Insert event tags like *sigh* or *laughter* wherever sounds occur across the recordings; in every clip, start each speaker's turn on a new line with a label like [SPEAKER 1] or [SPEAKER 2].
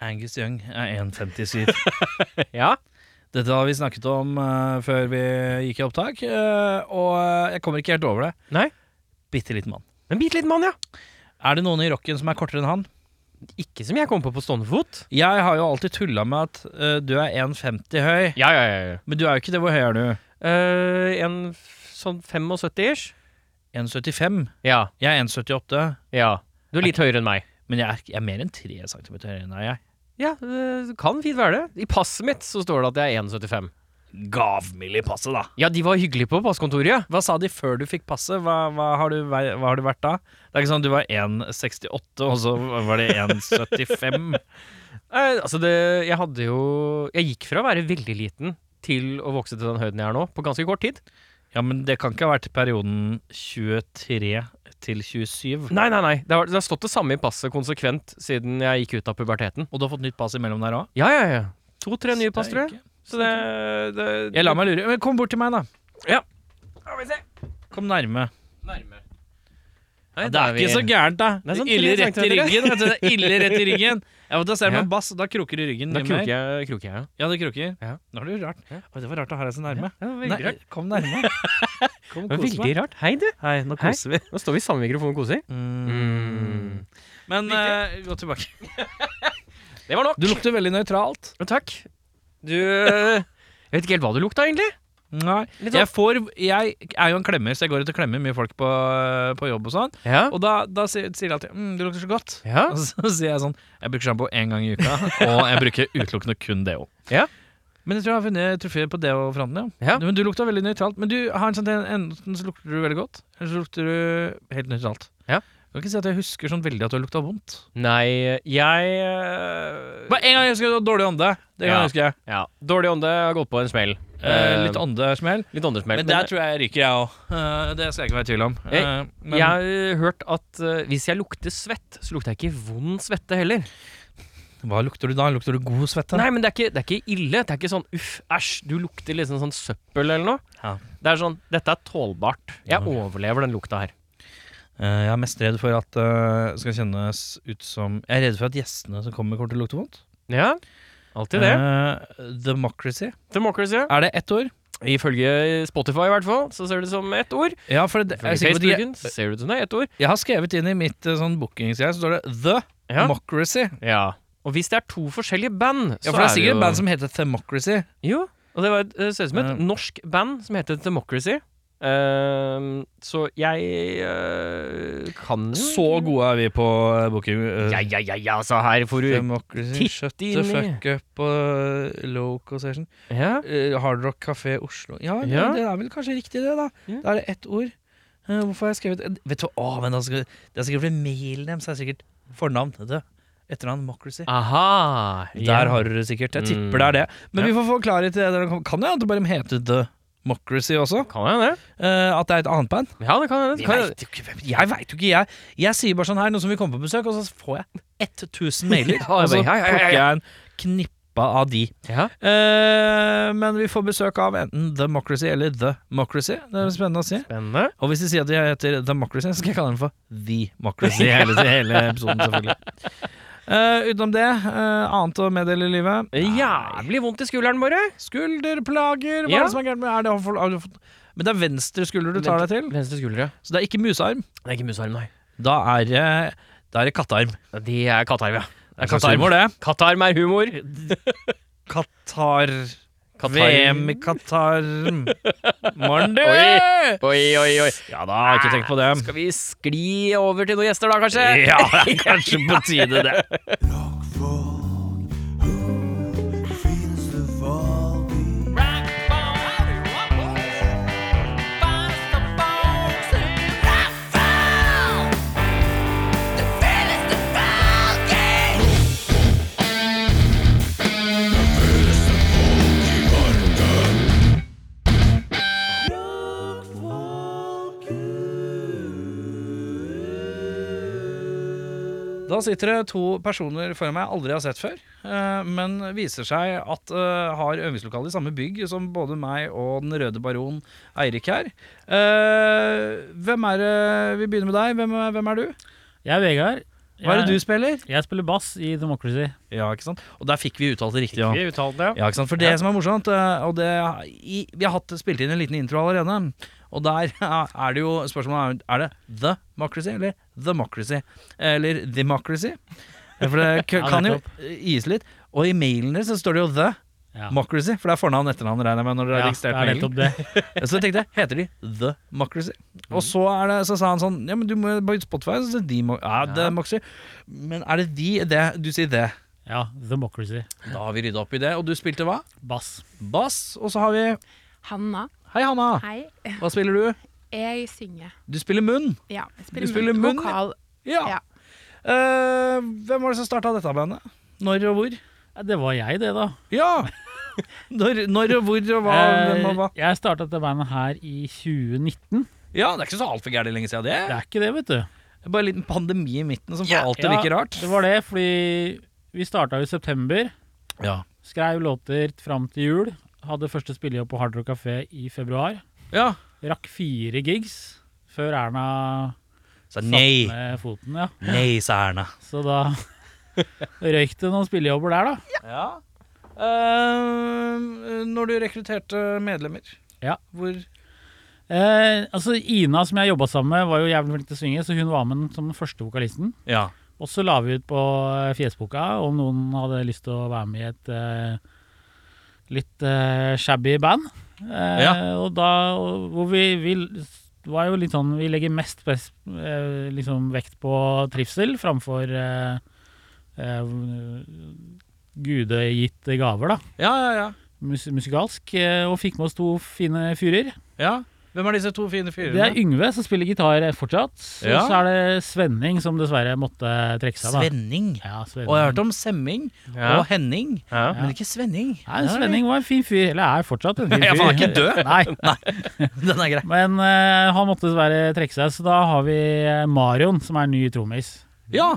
[SPEAKER 1] Angus Young er 1,57.
[SPEAKER 2] Ja.
[SPEAKER 1] Dette har vi snakket om eh, før vi gikk i opptak, eh, og jeg kommer ikke helt over det.
[SPEAKER 2] Nei.
[SPEAKER 1] Bitte liten mann.
[SPEAKER 2] En bitte liten mann, ja.
[SPEAKER 1] Er det noen i rocken som er kortere enn han?
[SPEAKER 2] Ikke som jeg kom på på stående fot.
[SPEAKER 1] Jeg har jo alltid tulla med at eh, du er 1,50 høy,
[SPEAKER 2] Ja, ja, ja. ja.
[SPEAKER 1] men du er jo ikke det. Hvor høy er du?
[SPEAKER 2] Eh, en f- sånn 75-ish.
[SPEAKER 1] 1,75.
[SPEAKER 2] Ja.
[SPEAKER 1] Jeg er 1,78,
[SPEAKER 2] Ja. Du er litt høyere enn meg.
[SPEAKER 1] men jeg er, jeg er mer enn 3 cm høyere enn deg. jeg.
[SPEAKER 2] Ja, det kan fint være det. I passet mitt så står det at jeg er 1,75.
[SPEAKER 1] Gavmild i passet, da.
[SPEAKER 2] Ja, de var hyggelige på passkontoret, ja.
[SPEAKER 1] Hva sa de før du fikk passet? Hva, hva, har, du, vei- hva har du vært da? Det er ikke sånn at du var 1,68, og så var det 1,75.
[SPEAKER 2] Eh, altså, det Jeg hadde jo Jeg gikk fra å være veldig liten til å vokse til den høyden jeg er nå, på ganske kort tid.
[SPEAKER 1] Ja, men det kan ikke ha vært perioden 23 til 27.
[SPEAKER 2] Nei, nei, nei. Det har, det har stått det samme i passet konsekvent siden jeg gikk ut av puberteten.
[SPEAKER 1] Og du har fått nytt pass imellom der òg?
[SPEAKER 2] Ja, ja, ja. To-tre nye pass, tror jeg. Så det, det
[SPEAKER 1] Jeg lar meg lure. Men kom bort til meg, da.
[SPEAKER 2] Skal vi se.
[SPEAKER 1] Kom nærme.
[SPEAKER 2] Nærme.
[SPEAKER 1] Ja, det er ikke så gærent, da.
[SPEAKER 2] Det
[SPEAKER 1] Det
[SPEAKER 2] er
[SPEAKER 1] er
[SPEAKER 2] sånn
[SPEAKER 1] ille
[SPEAKER 2] tre
[SPEAKER 1] rett i
[SPEAKER 2] centimeter.
[SPEAKER 1] ryggen. Vet du. Det er ille rett i
[SPEAKER 2] *laughs*
[SPEAKER 1] ryggen. Jeg måtte se
[SPEAKER 2] Ja.
[SPEAKER 1] med en bass, og da kroker det i ryggen.
[SPEAKER 2] Da
[SPEAKER 1] mye mer.
[SPEAKER 2] kroker jeg, kroker jeg, ja.
[SPEAKER 1] Ja, det kroker.
[SPEAKER 2] Ja.
[SPEAKER 1] Nå er det rart.
[SPEAKER 2] Ja.
[SPEAKER 1] Å, det var rart å ha deg så nærme.
[SPEAKER 2] Det var veldig
[SPEAKER 1] Nei,
[SPEAKER 2] rart.
[SPEAKER 1] kom nærme.
[SPEAKER 2] *laughs*
[SPEAKER 1] Kom,
[SPEAKER 2] Det var
[SPEAKER 1] kos meg.
[SPEAKER 2] veldig rart. Hei, du.
[SPEAKER 1] Hei, nå
[SPEAKER 2] Hei.
[SPEAKER 1] koser vi.
[SPEAKER 2] Nå står vi i samme mikrofon og koser. Mm.
[SPEAKER 1] Men eh, gå tilbake.
[SPEAKER 2] Det var nok.
[SPEAKER 1] Du lukter eh, veldig nøytralt.
[SPEAKER 2] Jo,
[SPEAKER 1] *laughs*
[SPEAKER 2] Takk. Du Jeg vet ikke helt hva du lukta, egentlig.
[SPEAKER 1] Nei.
[SPEAKER 2] Litt
[SPEAKER 1] Jeg, får, jeg er jo en klemmer, så jeg går ut og klemmer mye folk på, på jobb og sånn.
[SPEAKER 2] Ja.
[SPEAKER 1] Og da, da sier, sier de alltid mm, 'du lukter så godt'.
[SPEAKER 2] Ja.
[SPEAKER 1] Og så sier jeg sånn Jeg bruker sjampo én gang i *laughs* uka, og jeg bruker utelukkende kun deo.
[SPEAKER 2] Ja.
[SPEAKER 1] Men jeg tror jeg har funnet trofeer på deo-fronten, ja.
[SPEAKER 2] Ja.
[SPEAKER 1] Men du lukta veldig nøytralt. Men du har en sånn ten- enten så lukter du veldig godt, eller så lukter du helt nøytralt.
[SPEAKER 2] Ja.
[SPEAKER 1] Jeg kan ikke si at jeg husker sånn veldig at du har lukta vondt.
[SPEAKER 2] Nei, jeg eh,
[SPEAKER 1] Bare en gang jeg husker du hadde dårlig ånde. Det kan
[SPEAKER 2] Ja.
[SPEAKER 1] jeg huske.
[SPEAKER 2] Ja. Dårlig ånde har gått på en smell.
[SPEAKER 1] Eh,
[SPEAKER 2] Eh,
[SPEAKER 1] litt åndesmell.
[SPEAKER 2] litt åndesmell.
[SPEAKER 1] Men der tror jeg jeg ryker, jeg òg. det skal jeg ikke være i tvil om. Eh, men-
[SPEAKER 2] jeg har hørt at eh, hvis jeg lukter svett, så lukter jeg ikke vond svette heller.
[SPEAKER 1] Hva lukter du da? Lukter du god svette?
[SPEAKER 2] Nei, men det er, ikke, det er ikke ille. Det er ikke sånn uff, æsj, du lukter liksom sånn søppel eller noe.
[SPEAKER 1] Ja.
[SPEAKER 2] Det er sånn, dette er tålbart. Jeg
[SPEAKER 1] Ja.
[SPEAKER 2] overlever den lukta her.
[SPEAKER 1] Eh, jeg er mest redd for at det skal kjennes ut som Jeg er redd for at gjestene som kommer, kommer til å lukte vondt.
[SPEAKER 2] Ja, alltid det.
[SPEAKER 1] Eh, democracy.
[SPEAKER 2] Democracy.
[SPEAKER 1] Er det ett ord?
[SPEAKER 2] Ifølge Spotify i hvert fall, så ser det ut som ett ord.
[SPEAKER 1] Ja, for det, jeg, er
[SPEAKER 2] Ifølge
[SPEAKER 1] sikker på at jeg,
[SPEAKER 2] Facebooken så ser det ut som det er ett ord.
[SPEAKER 1] jeg har skrevet inn i mitt eh, sånn bookingsgreie, så står det The
[SPEAKER 2] Ja.
[SPEAKER 1] Democracy.
[SPEAKER 2] ja. Og hvis det er to forskjellige band,
[SPEAKER 1] Ja,
[SPEAKER 2] så
[SPEAKER 1] for det er sikkert
[SPEAKER 2] jo
[SPEAKER 1] et band som Eh. heter Democracy.
[SPEAKER 2] Jo, og det var, et- det ser ut som et
[SPEAKER 1] Ja.
[SPEAKER 2] norsk band som heter Democracy. Ehm, så jeg eh, kan jo
[SPEAKER 1] Så gode er vi på eh, booking. eh,
[SPEAKER 2] Ja, ja, ja, ja, så her får du
[SPEAKER 1] Democracy,
[SPEAKER 2] titt
[SPEAKER 1] shut the
[SPEAKER 2] inn i-
[SPEAKER 1] fuck up eh, og loco session.
[SPEAKER 2] Ja,
[SPEAKER 1] Eh, Hard Rock Café Oslo. Ja, men
[SPEAKER 2] Ja.
[SPEAKER 1] det er vel kanskje riktig, det, da.
[SPEAKER 2] Ja.
[SPEAKER 1] Da er det ett ord. Eh, hvorfor har jeg skrevet Vet du, å, men da skal, Det er sikkert fordi mailen deres er sikkert fornavn. Det. Etternavn Democracy.
[SPEAKER 2] Aha. ja.
[SPEAKER 1] Der har dere det sikkert. Jeg
[SPEAKER 2] Mm.
[SPEAKER 1] tipper det er det. Men
[SPEAKER 2] Ja.
[SPEAKER 1] vi får få klarhet i det. når det kommer. Kan det hende at det bare heter The Democracy også?
[SPEAKER 2] Kan jeg det?
[SPEAKER 1] Eh, at det er et annet band?
[SPEAKER 2] Ja, det kan jeg. Det
[SPEAKER 1] Vi
[SPEAKER 2] kan jeg.
[SPEAKER 1] vet jo ikke, hvem- jeg veit jo ikke, jeg. Jeg sier bare sånn her, nå som vi kommer på besøk, og så får jeg 1000 mailer. *laughs*
[SPEAKER 2] Ja,
[SPEAKER 1] Og så
[SPEAKER 2] ja, ja, ja, ja.
[SPEAKER 1] plukker jeg en knippe av de.
[SPEAKER 2] Ja.
[SPEAKER 1] Eh, men vi får besøk av enten Democracy eller The Mocracy. Det er spennende å si.
[SPEAKER 2] Spennende.
[SPEAKER 1] Og hvis de sier at de heter Democracy, så skal jeg kalle dem for The
[SPEAKER 2] *laughs*
[SPEAKER 1] Mocracy hele, hele episoden, selvfølgelig. Eh, utenom det, eh, annet å meddele i livet?
[SPEAKER 2] Jævlig vondt i skulderen, bare.
[SPEAKER 1] Skulderplager! Hva
[SPEAKER 2] Ja.
[SPEAKER 1] er det som er gærent med er det? for- Har du fått Men det er venstre skulder du tar deg til,
[SPEAKER 2] Venstre skulder, ja.
[SPEAKER 1] så det er ikke musarm.
[SPEAKER 2] Det er ikke musarm, nei.
[SPEAKER 1] Da er det da er det kattearm.
[SPEAKER 2] De er kattarm, ja.
[SPEAKER 1] Det er kattearm, det.
[SPEAKER 2] Kattarm er humor.
[SPEAKER 1] Qatar VM i Qatarm. Morn, du!
[SPEAKER 2] Oi. Oi, oi, oi.
[SPEAKER 1] Ja da, har ikke tenkt på det.
[SPEAKER 2] Skal vi skli over til noen gjester, da, kanskje?
[SPEAKER 1] *laughs* Ja, det er kanskje på tide, det. Da sitter det to personer foran meg jeg aldri har sett før, eh, men viser seg at eh, har øvingslokale i samme bygg som både meg og Den røde baron Eirik her. Eh, Hvem er det Vi begynner med deg. Hvem, er- hvem er du?
[SPEAKER 3] Jeg er Vegard.
[SPEAKER 1] Hva er det du spiller?
[SPEAKER 3] Jeg spiller bass i Democracy.
[SPEAKER 1] Ja, ikke sant? Og der fikk vi uttalt det riktig. Ja.
[SPEAKER 2] Vi uttalte det, ja.
[SPEAKER 1] Ja, ikke sant? For det som er morsomt, eh, og det, i, vi har hatt, spilt inn en liten intro allerede, og der *laughs* er det jo spørsmålet er, er det The Mocracy eller Democracy? Eller Democracy? Eh, For
[SPEAKER 3] *laughs*
[SPEAKER 1] det k-
[SPEAKER 3] Ja,
[SPEAKER 1] kan jo eh,
[SPEAKER 3] nettopp.
[SPEAKER 1] gis litt. Og i mailen deres så står det jo The
[SPEAKER 3] Ja.
[SPEAKER 1] Mocracy, for det er fornavn og etternavn, regner jeg med, når dere har
[SPEAKER 3] Ja, det
[SPEAKER 1] registrert
[SPEAKER 3] er
[SPEAKER 1] mailen.
[SPEAKER 3] nettopp Mm. det.
[SPEAKER 1] Så jeg tenkte, heter de The Mocracy? Og så, er det, så sa han sånn Ja, men du må på Spotify så sier de, Mo- ja, The Mocracy. Men er det de? Det, du sier det.
[SPEAKER 3] Ja, Democracy.
[SPEAKER 1] Da har vi rydda opp i det. Og du spilte hva?
[SPEAKER 3] Bass.
[SPEAKER 1] Bass. Og så har vi
[SPEAKER 4] Hanna,
[SPEAKER 1] Hei, Hanna.
[SPEAKER 4] hei.
[SPEAKER 1] Hva spiller du?
[SPEAKER 4] Jeg synger.
[SPEAKER 1] Du spiller munn.
[SPEAKER 4] Ja, jeg
[SPEAKER 1] Du spiller munn, ja.
[SPEAKER 4] Vokal.
[SPEAKER 1] Ja.
[SPEAKER 4] Ja.
[SPEAKER 1] Eh, hvem var det som starta dette bandet? Når og hvor?
[SPEAKER 3] Ja, det var jeg, det, da.
[SPEAKER 1] Ja! *laughs* Når, når og hvor og hva? Hvem og hva?
[SPEAKER 3] Eh, Jeg starta dette bandet her i 2019.
[SPEAKER 1] Ja, det er ikke så altfor gærent lenge siden
[SPEAKER 3] Det
[SPEAKER 1] det.
[SPEAKER 3] er ikke det, vet du.
[SPEAKER 1] Bare en liten pandemi i midten som får
[SPEAKER 2] Ja.
[SPEAKER 1] alt til å virke rart.
[SPEAKER 3] Det var det, fordi vi starta i september.
[SPEAKER 1] Ja.
[SPEAKER 3] Skrev låter fram til jul. Hadde første spillejobb på Hard Rock Café i februar.
[SPEAKER 1] ja.
[SPEAKER 3] Rakk fire gigs før Erna
[SPEAKER 1] Så
[SPEAKER 3] satte
[SPEAKER 1] nei,
[SPEAKER 3] ned foten. ja.
[SPEAKER 1] nei, sa Erna.
[SPEAKER 3] Så da *laughs* røyk det noen spillejobber der, da.
[SPEAKER 1] Ja. Eh, når du rekrutterte medlemmer,
[SPEAKER 3] Ja.
[SPEAKER 1] hvor
[SPEAKER 3] Eh, altså Ina, som jeg jobba sammen med, var jo jævlig flink til å synge, så hun var med som den første vokalisten.
[SPEAKER 1] Ja.
[SPEAKER 3] Og så la vi ut på eh, Fjesboka om noen hadde lyst til å være med i et eh, litt eh, shabby band. Eh,
[SPEAKER 1] Ja.
[SPEAKER 3] Og da og, hvor vi, vi l- var jo litt sånn Vi legger mest best, eh, liksom vekt på trivsel framfor eh, eh, gudegitte gaver, da.
[SPEAKER 1] Ja, ja, ja.
[SPEAKER 3] Mus musikalsk. eh, Og fikk med oss to fine fyrer.
[SPEAKER 1] ja. Hvem er disse to fine
[SPEAKER 3] Det er
[SPEAKER 1] fyrene?
[SPEAKER 3] Yngve som spiller gitar fortsatt. Og
[SPEAKER 1] Ja.
[SPEAKER 3] så er det Svenning som dessverre måtte trekke seg. da
[SPEAKER 1] Svenning.
[SPEAKER 3] Ja, Svenning.
[SPEAKER 1] Og jeg har hørt om Semming og Henning.
[SPEAKER 2] Ja.
[SPEAKER 3] Ja.
[SPEAKER 1] Men ikke Svenning.
[SPEAKER 3] Nei, Svenning var en fin fyr. Eller er
[SPEAKER 1] *laughs*
[SPEAKER 3] fortsatt en fin fyr.
[SPEAKER 1] Ja, for han er ikke død.
[SPEAKER 3] *laughs* Nei,
[SPEAKER 1] *laughs* Den er grei.
[SPEAKER 3] Men eh, han måtte dessverre trekke seg, så da har vi eh, Marion, som er ny trommis. *laughs*
[SPEAKER 1] Ja.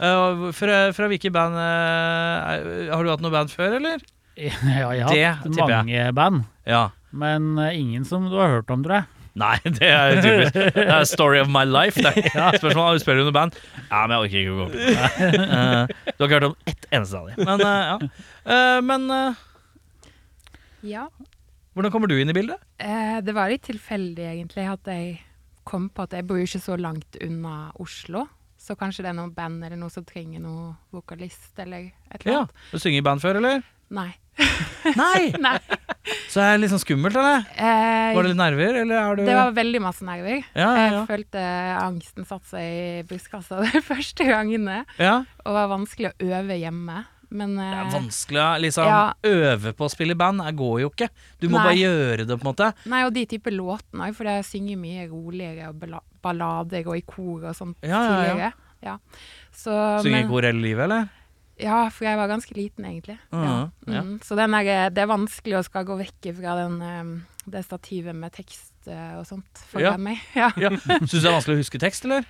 [SPEAKER 1] Eh, fra, fra hvilke band eh, er- Har du hatt noe band før, eller?
[SPEAKER 3] Ja, jeg har
[SPEAKER 1] Det
[SPEAKER 3] hatt
[SPEAKER 1] tipper jeg.
[SPEAKER 3] mange band,
[SPEAKER 1] Ja.
[SPEAKER 3] men eh, ingen som du har hørt om, tror jeg.
[SPEAKER 1] Nei, det er typisk. Det er story of my life. Det *laughs* er Spørsmålet er, spiller du noe band? Ja, men jeg orker ikke å gå *laughs* opp i det. Eh, Du har ikke hørt om ett eneste av dem. Men, eh, ja. Eh, men eh,
[SPEAKER 4] Ja.
[SPEAKER 1] hvordan kommer du inn i bildet?
[SPEAKER 4] Eh, det var litt tilfeldig, egentlig, at jeg kom på at jeg bor jo ikke så langt unna Oslo. Så kanskje det er noen band eller noe som trenger noe vokalist eller et eller
[SPEAKER 1] Ja.
[SPEAKER 4] annet.
[SPEAKER 1] Du synger i band før, eller?
[SPEAKER 4] Nei. *laughs*
[SPEAKER 1] *laughs* Nei!
[SPEAKER 4] Nei.
[SPEAKER 1] Så er det litt sånn skummelt, eller?
[SPEAKER 4] Eh,
[SPEAKER 1] Var det litt nerver, eller er du
[SPEAKER 4] det var Eh, veldig masse nerver.
[SPEAKER 1] Ja, ja, ja.
[SPEAKER 4] Jeg følte angsten satte seg i *laughs* brystkassa de første gangene.
[SPEAKER 1] ja.
[SPEAKER 4] Og var vanskelig å øve hjemme. Men
[SPEAKER 1] Det er
[SPEAKER 4] eh,
[SPEAKER 1] vanskelig å liksom,
[SPEAKER 4] Ja.
[SPEAKER 1] øve på å spille i band. Det går jo ikke. Du må
[SPEAKER 4] Nei.
[SPEAKER 1] bare gjøre det, på en måte.
[SPEAKER 4] Nei, og de type låtene òg, for jeg synger mye roligere og balla- ballader og i kor og sånt
[SPEAKER 1] Ja, ja, ja.
[SPEAKER 4] tidligere. Ja. Så,
[SPEAKER 1] Synger
[SPEAKER 4] men-
[SPEAKER 1] ikke kor hele livet,
[SPEAKER 4] *laughs*
[SPEAKER 1] eller?
[SPEAKER 4] Ja, for jeg var ganske liten egentlig.
[SPEAKER 1] Mhm,
[SPEAKER 4] ja.
[SPEAKER 1] ja.
[SPEAKER 4] Mm, så den er, det er vanskelig å skal gå vekk fra den, em, det stativet med tekst eh, *laughs* og sånt foran
[SPEAKER 1] Ja.
[SPEAKER 4] meg. Ja.
[SPEAKER 1] Ja. Syns du det er vanskelig å huske tekst, eller?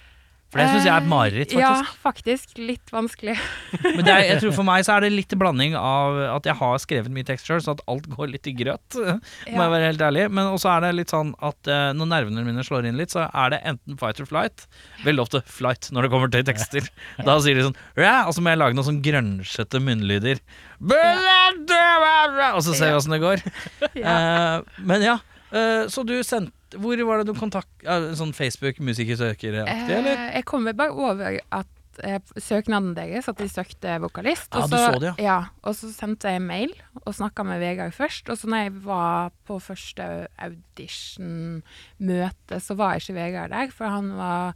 [SPEAKER 1] For det syns jeg er et mareritt,
[SPEAKER 4] Eh, Ja,
[SPEAKER 1] faktisk.
[SPEAKER 4] faktisk. Litt vanskelig.
[SPEAKER 1] Men det er, jeg tror for meg så er det litt blanding av at jeg har skrevet mye tekst sjøl, så at alt går litt i grøt, *laughs* må jeg
[SPEAKER 4] Ja.
[SPEAKER 1] være helt ærlig. Men også er det litt sånn at eh, når nervene mine slår inn litt, så er det enten fight or flight. Veldig ofte flight når det kommer til
[SPEAKER 4] *laughs*
[SPEAKER 1] tekster. Da sier de sånn «Ræ», Og så må jeg lage noen sånn grønsjete munnlyder. Og så ser vi åssen det går.
[SPEAKER 4] Ja.
[SPEAKER 1] Eh, men ja, eh, så du sendte Hvor var det du kontakt... eh, sånn Facebook musikersøkeraktig, eller?
[SPEAKER 4] Eh, jeg kom vel bare over at eh, søknaden deres, at de søkte vokalist.
[SPEAKER 1] Ja,
[SPEAKER 4] og
[SPEAKER 1] du så det,
[SPEAKER 4] ja. Og så sendte jeg mail og snakka med Vegard først. Og så når jeg var på første audition-møte, så var ikke Vegard der, for han var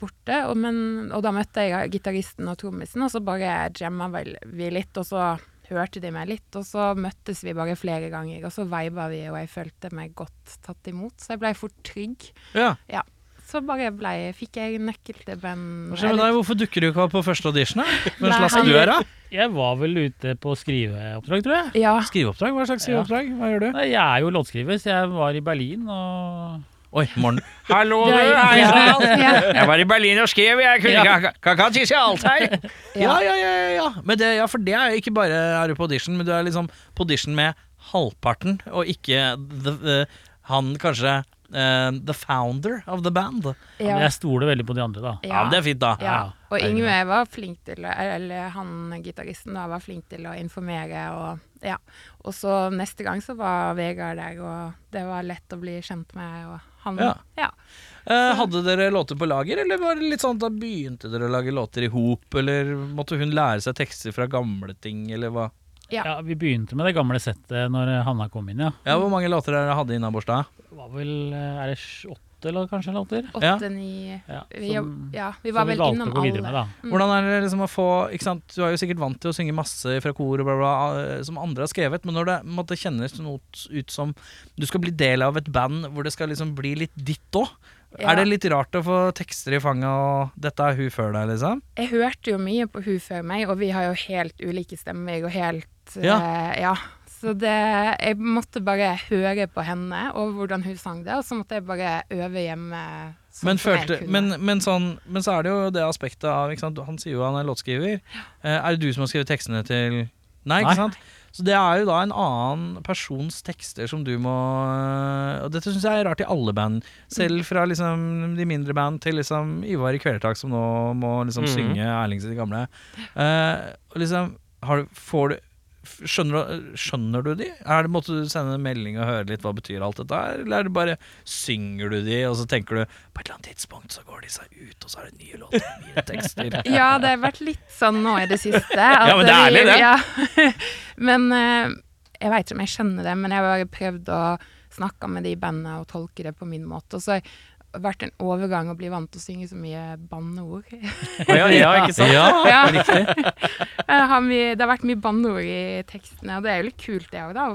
[SPEAKER 4] borte. Og, men, og da møtte jeg gitaristen og trommisen, og så bare jamma vel vi litt. og så hørte de meg litt, og så møttes vi bare flere ganger, og så viba vi, og jeg følte meg godt tatt imot, så jeg ble fort trygg.
[SPEAKER 1] Ja.
[SPEAKER 4] Ja. Så bare ble, fikk jeg nøkkel til band.
[SPEAKER 1] Hva skjer med deg? Hvorfor dukker du ikke opp på første audition? da? Hva
[SPEAKER 4] Nei,
[SPEAKER 1] slags
[SPEAKER 4] han-
[SPEAKER 1] du er, da?
[SPEAKER 3] Jeg var vel ute på skriveoppdrag, tror jeg.
[SPEAKER 4] Ja,
[SPEAKER 1] Skriveoppdrag? Hva slags skriveoppdrag? Hva gjør du?
[SPEAKER 3] Nei, jeg er jo låtskriver, så jeg var i Berlin og
[SPEAKER 1] Oi, morgen. Hallo,
[SPEAKER 4] du, hei, Ja. sann. Ja.
[SPEAKER 1] Jeg var i Berlin og skrev, jeg kunne ikke *laughs* Kan tisse i alt her. Ja, *laughs*
[SPEAKER 4] Ja.
[SPEAKER 1] ja, ja. ja. Men det, ja for det er jo ikke bare er du på audition, men du er liksom på audition med halvparten, og ikke the, the, han kanskje eh, the founder of the band.
[SPEAKER 3] Men
[SPEAKER 4] Ja.
[SPEAKER 3] jeg stoler veldig på de andre, da.
[SPEAKER 1] Ja, men Det er fint, da.
[SPEAKER 4] Ja.
[SPEAKER 3] Ja,
[SPEAKER 4] Og
[SPEAKER 3] herregud.
[SPEAKER 4] Yngve var flink til å, eller han gitaristen da, var flink til å informere. Og, ja. og så neste gang så var Vegard der, og det var lett å bli kjent med. Og han,
[SPEAKER 1] Ja.
[SPEAKER 4] ja.
[SPEAKER 1] Eh, hadde dere låter på lager, eller var det litt sånn at da begynte dere å lage låter i hop? Eller måtte hun lære seg tekster fra gamle ting, eller hva?
[SPEAKER 4] Ja.
[SPEAKER 3] Ja, vi begynte med det gamle settet når eh, Hanna kom inn, ja.
[SPEAKER 1] Ja, Hvor mange låter dere hadde innabords da?
[SPEAKER 3] Det var vel eh, Er det sj- åtte eller kanskje låter?
[SPEAKER 1] Ja.
[SPEAKER 4] Åtte-ni
[SPEAKER 3] Ja,
[SPEAKER 4] vi,
[SPEAKER 3] som-
[SPEAKER 4] ja, vi
[SPEAKER 3] som
[SPEAKER 4] var vel
[SPEAKER 3] valgte å
[SPEAKER 4] innom
[SPEAKER 3] gå videre
[SPEAKER 4] alle.
[SPEAKER 3] Med, da.
[SPEAKER 4] Mm.
[SPEAKER 1] Hvordan er det liksom å få ikke sant? Du er jo sikkert vant til å synge masse fra kor og bla, bla, eh, som andre har skrevet, men når det måtte kjennes noe ut som du skal bli del av et band hvor det skal liksom bli litt ditt òg,
[SPEAKER 4] Ja.
[SPEAKER 1] er det litt rart å få tekster i fanget og 'dette er hun før deg', liksom?
[SPEAKER 4] Jeg hørte jo mye på hun før meg, og vi har jo helt ulike stemmer og helt
[SPEAKER 1] Ja.
[SPEAKER 4] eh, ja. Så det, jeg måtte bare høre på henne og hvordan hun sang det, og så måtte jeg bare øve hjemme. sånn
[SPEAKER 1] Men,
[SPEAKER 4] som jeg
[SPEAKER 1] følte,
[SPEAKER 4] kunne.
[SPEAKER 1] men, men, sånn, men så er det jo det aspektet av ikke sant? Han sier jo han er låtskriver. Eh, er det du som har skrevet tekstene til Nei,
[SPEAKER 3] Nei.
[SPEAKER 1] ikke sant? Så det er jo da en annen persons tekster som du må eh, Og dette syns jeg er rart i alle band. Selv
[SPEAKER 2] Mm.
[SPEAKER 1] fra liksom de mindre band til liksom Ivar i Kvelertak, som nå må liksom
[SPEAKER 2] Mhm.
[SPEAKER 1] synge Erling sitt gamle. Eh, og liksom har, du- Får du f- Skjønner, du- skjønner du de? Er det, måtte du sende en melding og høre litt hva betyr alt dette her? Eller er det bare synger du de, og så tenker du på et eller annet tidspunkt så går de seg ut, og så er det nye låter, nye tekster.
[SPEAKER 4] Ja, det har vært litt sånn nå i
[SPEAKER 1] *laughs*
[SPEAKER 4] det siste. at
[SPEAKER 1] Ja, men det er
[SPEAKER 4] vi-
[SPEAKER 1] ærlig, det.
[SPEAKER 4] Ja. *laughs* men eh, jeg veit ikke om jeg skjønner det, men jeg har bare prøvd å snakke med de i bandet og tolke det på min måte. Og så har det vært en overgang å bli vant til å synge så mye banneord.
[SPEAKER 2] Å *laughs* ja, ja, ikke sant?
[SPEAKER 4] *laughs* ja. Jeg har mye, det har vært mye banneord i tekstene, og det er jo litt kult det òg, da.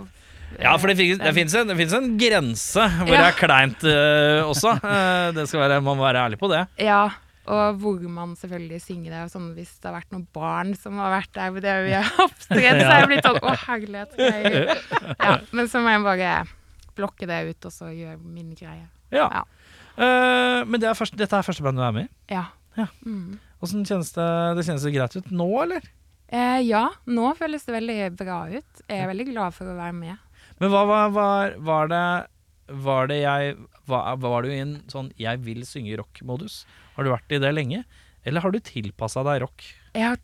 [SPEAKER 1] Ja, for det, fin- det fins en, det finnes en grense hvor det
[SPEAKER 4] Ja.
[SPEAKER 1] er kleint eh,
[SPEAKER 4] *laughs*
[SPEAKER 1] også. Eh, det skal være, Man må være ærlig på det.
[SPEAKER 4] Ja, og hvor man selvfølgelig synger det. Og sånn, hvis det har vært noen barn som har vært der hvor det vi har opptredd, så har jeg blitt sånn Å, herlighet. skal
[SPEAKER 1] *laughs*
[SPEAKER 4] jeg-" Ja, men så må jeg bare blokke det ut, og så gjøre min greie.
[SPEAKER 1] Ja.
[SPEAKER 4] Ja.
[SPEAKER 1] Eh, men det er første, dette er første band du er med i.
[SPEAKER 4] Ja.
[SPEAKER 1] Ja.
[SPEAKER 4] Mm.
[SPEAKER 1] Hvordan kjennes det, det kjennes det greit ut nå, eller?
[SPEAKER 4] Eh, ja, nå føles det veldig bra ut. Jeg er veldig glad for å være med.
[SPEAKER 1] Men hva var, var, var det Var det jeg Var, var du i en sånn 'jeg vil synge rock'-modus? Har du vært i det lenge? Eller har du tilpassa deg rock?
[SPEAKER 4] Jeg har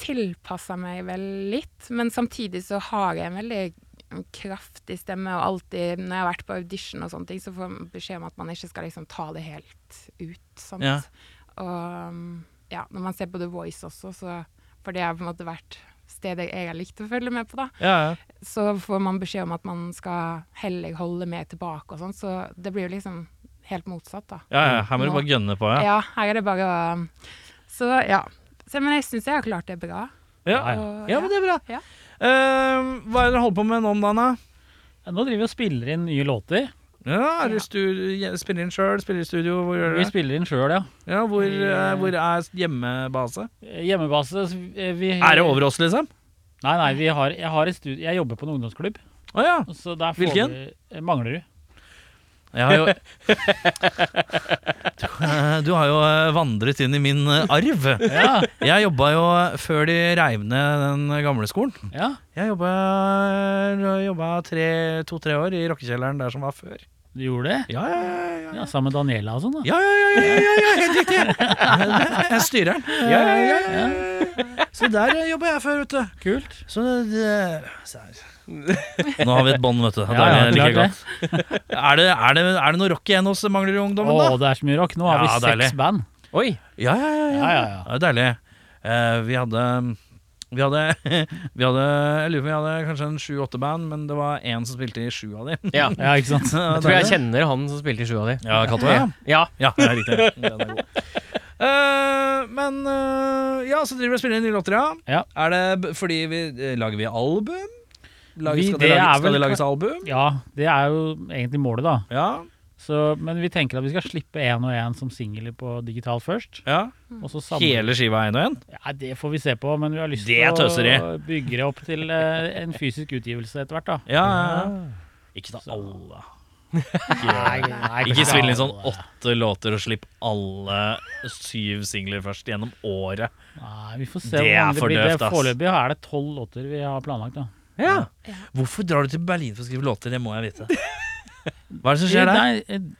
[SPEAKER 4] tilpassa meg vel litt, men samtidig så har jeg en veldig mm, kraftig stemme, og alltid når jeg har vært på audition og sånne ting, så får man beskjed om at man ikke skal liksom ta det helt ut. Sant?
[SPEAKER 1] Ja.
[SPEAKER 4] Og um, ja, når man ser på The Voice også, så For det har på en måte vært stedet jeg har likt å følge med på, da.
[SPEAKER 1] Ja, ja.
[SPEAKER 4] Så får man beskjed om at man skal heller holde mer tilbake og sånn, så det blir jo liksom helt motsatt, da.
[SPEAKER 1] Ja, ja, her må du
[SPEAKER 4] Nå-
[SPEAKER 1] bare gønne på,
[SPEAKER 4] Ja,
[SPEAKER 1] ja.
[SPEAKER 4] her er det bare å mm, Så ja. Så, men jeg syns jeg har klart det bra.
[SPEAKER 1] Ja,
[SPEAKER 4] Og,
[SPEAKER 1] ja men det er bra.
[SPEAKER 4] Ja.
[SPEAKER 1] Eh, hva er det dere holder på med nå om dagen, da?
[SPEAKER 3] Ja, Nå driver vi og spiller inn nye låter.
[SPEAKER 1] Ja, er
[SPEAKER 4] Ja.
[SPEAKER 1] du stu- spiller inn sjøl, spiller i studio, hvor gjør
[SPEAKER 3] Vi
[SPEAKER 1] du det?
[SPEAKER 3] spiller inn sjøl, ja.
[SPEAKER 1] Ja, hvor,
[SPEAKER 3] vi,
[SPEAKER 1] eh,
[SPEAKER 3] eh,
[SPEAKER 1] hvor er hjemmebase?
[SPEAKER 3] Hjemmebase så vi- vi,
[SPEAKER 1] Er det over oss, liksom?
[SPEAKER 3] Nei, nei. Vi har, jeg, har et studie, jeg jobber på en ungdomsklubb.
[SPEAKER 1] Å ja.
[SPEAKER 3] Så der får
[SPEAKER 1] Hvilken?
[SPEAKER 3] vi- eh, Manglerud.
[SPEAKER 1] Jeg *laughs* har jo du, eh, du har jo eh, vandret inn i min eh, arv.
[SPEAKER 3] Ja,
[SPEAKER 1] Jeg jobba jo eh, før de reiv ned den gamle skolen.
[SPEAKER 3] ja.
[SPEAKER 1] Jeg jobba jobba tre- to-tre år i rockekjelleren der som var før.
[SPEAKER 3] Du gjorde det?
[SPEAKER 1] Ja, ja, ja, ja,
[SPEAKER 3] Ja, Sammen med Daniela og sånn, da.
[SPEAKER 1] Ja, ja, ja, ja, ja, ja helt *laughs* riktig! Jeg styrer den. Ja, ja, ja, ja. Så der eh, jobba jeg før, vet du.
[SPEAKER 3] Kult.
[SPEAKER 1] Så det, så her. Nå har vi et bånd, vet du. Det
[SPEAKER 3] *laughs* Ja, ja,
[SPEAKER 1] er like
[SPEAKER 3] klart
[SPEAKER 1] godt. *laughs* Er det, er, det, er det noe rock igjen hos Manglerud-ungdommen,
[SPEAKER 3] Å,
[SPEAKER 1] da?
[SPEAKER 3] det er så mye rock. Nå har
[SPEAKER 1] Ja,
[SPEAKER 3] vi seks
[SPEAKER 1] deilig.
[SPEAKER 3] band.
[SPEAKER 2] Oi.
[SPEAKER 1] Ja, ja, ja.
[SPEAKER 3] Ja, ja, ja.
[SPEAKER 1] Det er deilig. Eh, vi hadde vi hadde, *laughs* vi hadde Jeg lurer på om vi hadde kanskje en sju-åtte band, men det var én som spilte i sju av dem.
[SPEAKER 2] Ja.
[SPEAKER 3] Ja, ikke sant.
[SPEAKER 2] Jeg tror jeg kjenner han som spilte i sjua di.
[SPEAKER 1] Ja, Katva, ja.
[SPEAKER 2] Ja.
[SPEAKER 1] Ja, det er riktig. Den er god. Eh, men eh, ja, så driver vi og spiller inn nye låter, ja.
[SPEAKER 3] Ja.
[SPEAKER 1] Er det b- fordi vi eh, Lager vi album? *laughs* Lager,
[SPEAKER 3] Vi-
[SPEAKER 1] skal det,
[SPEAKER 3] det
[SPEAKER 1] lage,
[SPEAKER 3] er
[SPEAKER 1] skal
[SPEAKER 3] vel-
[SPEAKER 1] det lages album?
[SPEAKER 3] Ja, det er jo egentlig målet, da.
[SPEAKER 1] Ja.
[SPEAKER 3] Så, men vi tenker at vi skal slippe én og én som singler på digital først.
[SPEAKER 1] ja.
[SPEAKER 3] Og så samle
[SPEAKER 1] Hele skiva én og én?
[SPEAKER 3] Ja, Det får vi se på, men vi har lyst
[SPEAKER 1] Det
[SPEAKER 3] til
[SPEAKER 1] tøser
[SPEAKER 3] å bygge det opp til eh, en fysisk utgivelse etter hvert. da.
[SPEAKER 1] Ja, ja, ja. Ikke ta alle.
[SPEAKER 3] Nei, nei,
[SPEAKER 1] Ikke
[SPEAKER 3] kanskje
[SPEAKER 1] spill inn sånn
[SPEAKER 3] alle.
[SPEAKER 1] åtte låter og slipp alle syv singler først gjennom året.
[SPEAKER 3] Nei, vi får se
[SPEAKER 1] Det
[SPEAKER 3] hvor
[SPEAKER 1] er
[SPEAKER 3] mange det
[SPEAKER 1] for
[SPEAKER 3] blir.
[SPEAKER 1] døvt,
[SPEAKER 3] Det
[SPEAKER 1] ass.
[SPEAKER 3] Foreløpig er det tolv låter vi har planlagt. da.
[SPEAKER 1] *laughs* Ja. Hvorfor drar du til Berlin for å skrive låter? Det må jeg vite. Hva er det som skjer der?
[SPEAKER 3] Nei,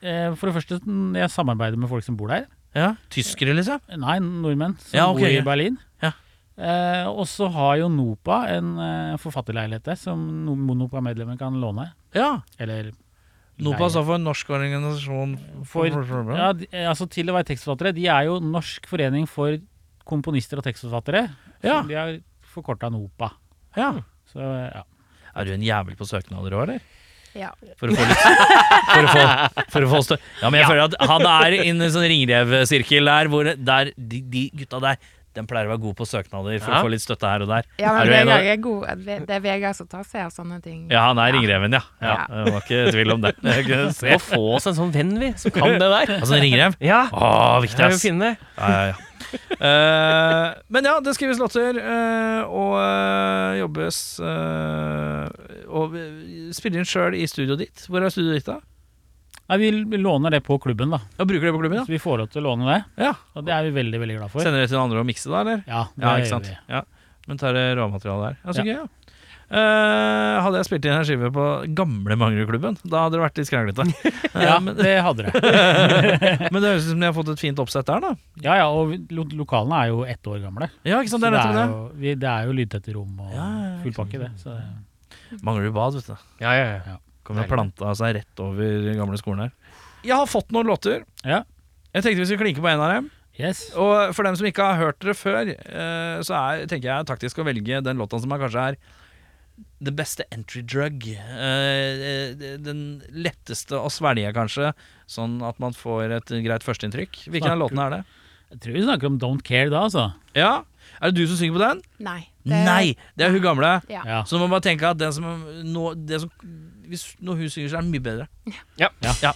[SPEAKER 3] eh, for det første, jeg samarbeider med folk som bor der.
[SPEAKER 1] Ja, Tyskere, liksom?
[SPEAKER 3] Nei, nordmenn som
[SPEAKER 1] Ja, ok,
[SPEAKER 3] bor
[SPEAKER 1] ja.
[SPEAKER 3] i Berlin.
[SPEAKER 1] Ja.
[SPEAKER 3] Eh, og så har jo NOPA en eh, forfatterleilighet der som no- NOPA-medlemmer kan låne.
[SPEAKER 1] Ja.
[SPEAKER 3] Eller
[SPEAKER 1] NOPA står for Norsk organisasjon
[SPEAKER 3] For-
[SPEAKER 1] for
[SPEAKER 3] ja, de, eh, altså Til å være tekstforfattere. De er jo Norsk forening for komponister og tekstforfattere. Så
[SPEAKER 1] Ja.
[SPEAKER 3] De har forkorta NOPA.
[SPEAKER 1] ja.
[SPEAKER 3] Så ja.
[SPEAKER 1] Er du en jævel på søknader òg, eller?
[SPEAKER 4] Ja.
[SPEAKER 1] For å få litt For å få, for å få stø... Ja, men jeg føler at han er i en sånn ringrevsirkel der, hvor der, de, de gutta der de pleier å være gode på søknader for
[SPEAKER 2] Ja.
[SPEAKER 1] å få litt støtte her og der.
[SPEAKER 4] Ja,
[SPEAKER 1] Er
[SPEAKER 4] men
[SPEAKER 1] du en av-
[SPEAKER 4] Vegard er god. Det er Vegard som tar seg av sånne ting.
[SPEAKER 1] Ja, han er ringreven, ja. ja. Det var ikke tvil om det. *laughs* Jeg kunne se.
[SPEAKER 2] Må få oss en sånn venn, vi, som kan det der.
[SPEAKER 1] Altså en ringrev?
[SPEAKER 2] Ja,
[SPEAKER 1] Å, viktig,
[SPEAKER 2] det er jo
[SPEAKER 1] ass.
[SPEAKER 2] finne.
[SPEAKER 1] Ja, ja, ja. *laughs* Eh, men ja, det skrives låter, eh, og eh, jobbes eh, Og eh, spiller inn sjøl i studioet ditt. Hvor er studioet ditt, da?
[SPEAKER 3] Nei, vi l- låner det på klubben, da.
[SPEAKER 1] Ja, bruker det på klubben,
[SPEAKER 3] Så vi får lov til å låne det.
[SPEAKER 1] ja? ja.
[SPEAKER 3] Og det er vi veldig veldig glad for.
[SPEAKER 1] Sender det til andre og mikser da, eller?
[SPEAKER 3] Ja, det
[SPEAKER 1] Ja,
[SPEAKER 3] gjør
[SPEAKER 1] ikke sant? *laughs*
[SPEAKER 3] vi.
[SPEAKER 1] Ja. Men tar det råmaterialet der. Ja, så
[SPEAKER 3] Ja.
[SPEAKER 1] gøy, ja. Eh, hadde jeg spilt inn en skive på gamle Manglerudklubben, da hadde det vært litt skranglete. *laughs* Eh,
[SPEAKER 3] Ja,
[SPEAKER 1] men,
[SPEAKER 3] det hadde det.
[SPEAKER 1] men det høres ut som de har fått et fint oppsett der, da.
[SPEAKER 3] Ja, ja, og vi- lo lokalene er jo ett år gamle.
[SPEAKER 1] Ja, ikke sant, Sånn,
[SPEAKER 3] Så
[SPEAKER 1] det er nettopp det.
[SPEAKER 3] jo, vi, det er jo lydtette rom
[SPEAKER 1] Ja,
[SPEAKER 3] og
[SPEAKER 1] ja, ja,
[SPEAKER 3] full
[SPEAKER 1] ikke
[SPEAKER 3] pakke, det. Så,
[SPEAKER 1] Mangler du bad, vet du.
[SPEAKER 2] Ja, ja, ja.
[SPEAKER 1] Kommer og planta seg rett over gamle skolen her. Jeg har fått noen låter.
[SPEAKER 3] Ja.
[SPEAKER 1] Jeg tenkte vi skulle klinke på en av dem.
[SPEAKER 3] yes.
[SPEAKER 1] Og for dem som ikke har hørt det før, eh, så er, tenker jeg taktisk å velge den låta som er kanskje er det beste entry drug. Eh, eh, Den letteste å svelge, kanskje. Sånn at man får et greit førsteinntrykk. Hvilken av
[SPEAKER 3] Snakker-
[SPEAKER 1] låtene er det?
[SPEAKER 3] Jeg tror vi snakker om Don't Care da, altså.
[SPEAKER 1] Ja, Er det du som synger på den?
[SPEAKER 4] Nei.
[SPEAKER 1] Nei! Det er hun gamle.
[SPEAKER 4] Ja.
[SPEAKER 3] Ja.
[SPEAKER 1] Så må man bare tenke at den som, nå, det som hvis, Når hun synger, så er den mye bedre.
[SPEAKER 2] Ja.
[SPEAKER 1] ja. ja.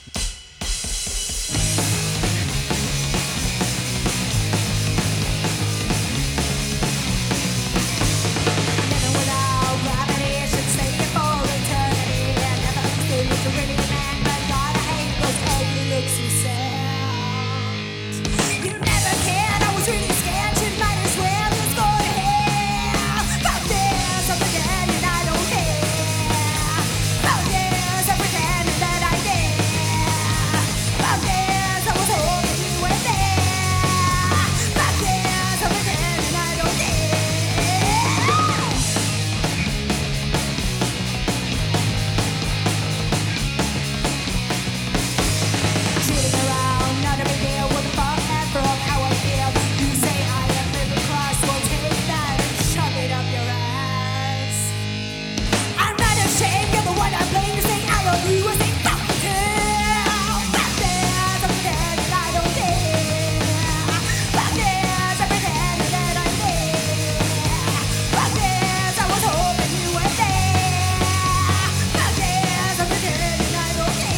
[SPEAKER 5] Oh, Oh, Oh, Yeah. Sitting around, not a big deal with a fuck and throw up how I feel. You say I am living cross, well take that and shove it up your ass. I'm not ashamed, you're the one I blame. You say I love you, I say fuck you. Fuck this, I pretend that I don't care. Fuck this, I pretend that I care. Fuck this, I was hoping you were there. Fuck this, I pretend that I don't care.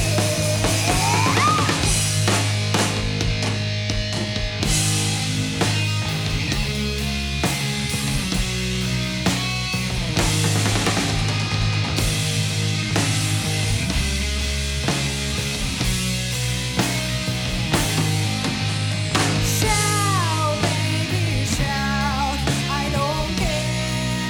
[SPEAKER 5] Shout, baby, shout! I don't care.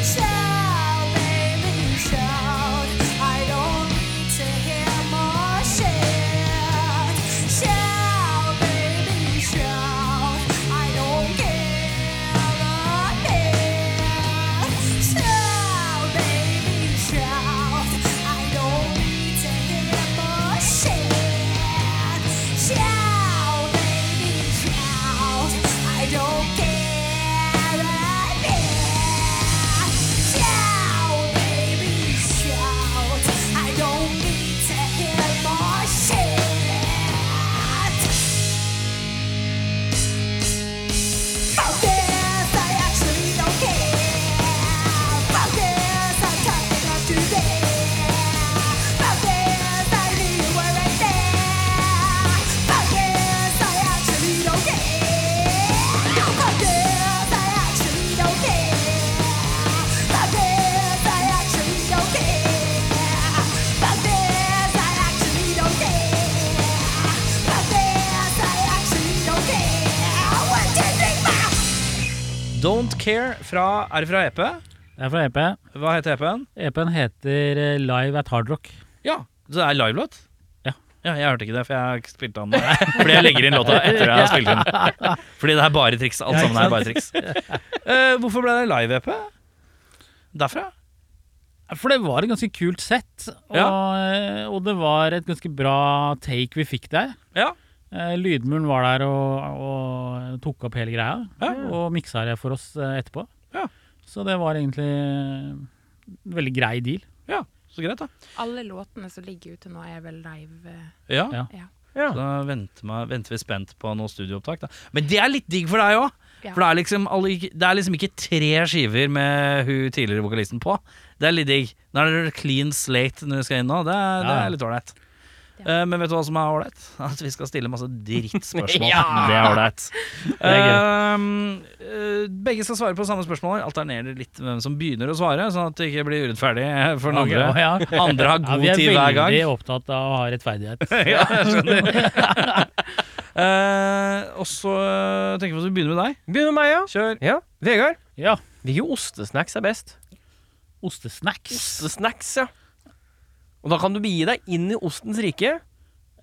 [SPEAKER 5] Shout, baby, shout! I don't need to hear more shit. Shout, baby, shout! I don't care. Shout, baby, shout! I don't need to hear more shit. Shout, baby, shout! I don't care a bit. Shout, baby, shout! I don't need to hear more shit. Fuck this, I actually don't care. Fuck this, I'm tired enough to live. Fuck this, I knew you were right there. Fuck this, I actually don't care. Fuck this, I actually don't care. Fuck this, I actually don't care. Fuck this, I actually don't care. Fuck this, I actually don't care. One, two, three, four.
[SPEAKER 1] Don't Care fra, er det fra EP?
[SPEAKER 3] Det er fra E EP.
[SPEAKER 1] Hva heter E EP-en?
[SPEAKER 3] EP-en heter eh, Live at Hard Rock.
[SPEAKER 1] Ja, så det er livelåt?
[SPEAKER 3] Ja.
[SPEAKER 1] ja. Jeg hørte ikke det, for jeg har ikke spilt den eh, Fordi jeg legger inn låta etter jeg har spilt den. Fordi det er bare triks. Alt
[SPEAKER 3] Ja, ikke
[SPEAKER 1] sammen er bare triks. Eh, hvorfor ble det live-EP? Derfra?
[SPEAKER 3] For det var et ganske kult sett, og, eh, og det var et ganske bra take vi fikk der.
[SPEAKER 1] Ja.
[SPEAKER 3] Eh, Lydmuren var der og, og tok opp hele greia,
[SPEAKER 1] Ja.
[SPEAKER 3] og miksa det for oss eh, etterpå.
[SPEAKER 1] Ja.
[SPEAKER 3] Så det var egentlig en veldig grei deal.
[SPEAKER 1] ja. Så greit, da.
[SPEAKER 4] Alle låtene som ligger ute nå, er vel live. eh,
[SPEAKER 1] Ja.
[SPEAKER 3] Ja.
[SPEAKER 4] Ja.
[SPEAKER 1] Så Da venter, meg, venter vi spent på noe studioopptak. Da. Men det er litt digg for deg òg!
[SPEAKER 4] Ja.
[SPEAKER 1] For det er, liksom, alle- det er liksom ikke tre skiver med hun tidligere vokalisten på. Det er litt digg. Da er det clean slate når du skal inn nå. Det er, det
[SPEAKER 3] Ja.
[SPEAKER 1] er litt ålreit.
[SPEAKER 4] Ja.
[SPEAKER 1] Eh, men vet du hva som er ålreit? *laughs* At vi skal stille masse *laughs* drittspørsmål.
[SPEAKER 2] Ja!
[SPEAKER 1] *laughs* Det er ålreit.
[SPEAKER 3] er
[SPEAKER 1] Eh, eh, begge skal svare på samme spørsmål. Alternerer litt hvem som begynner å svare, sånn at det ikke blir urettferdig *laughs* for den andre.
[SPEAKER 3] Og ja,
[SPEAKER 1] Andre *laughs* har
[SPEAKER 3] ja,
[SPEAKER 1] god
[SPEAKER 3] vi er
[SPEAKER 1] tid hver gang.
[SPEAKER 3] veldig opptatt av å ha rettferdighet.
[SPEAKER 1] *laughs* ja, jeg skjønner. Eh, og så eh, tenker vi at vi begynner med deg.
[SPEAKER 2] Begynner med meg, ja.
[SPEAKER 1] Kjør.
[SPEAKER 2] ja. Vegard,
[SPEAKER 3] Ja,
[SPEAKER 2] hvilke ostesnacks er best?
[SPEAKER 3] ostesnacks.
[SPEAKER 2] Ostesnacks, ja. Og da kan du begi deg inn i ostens rike.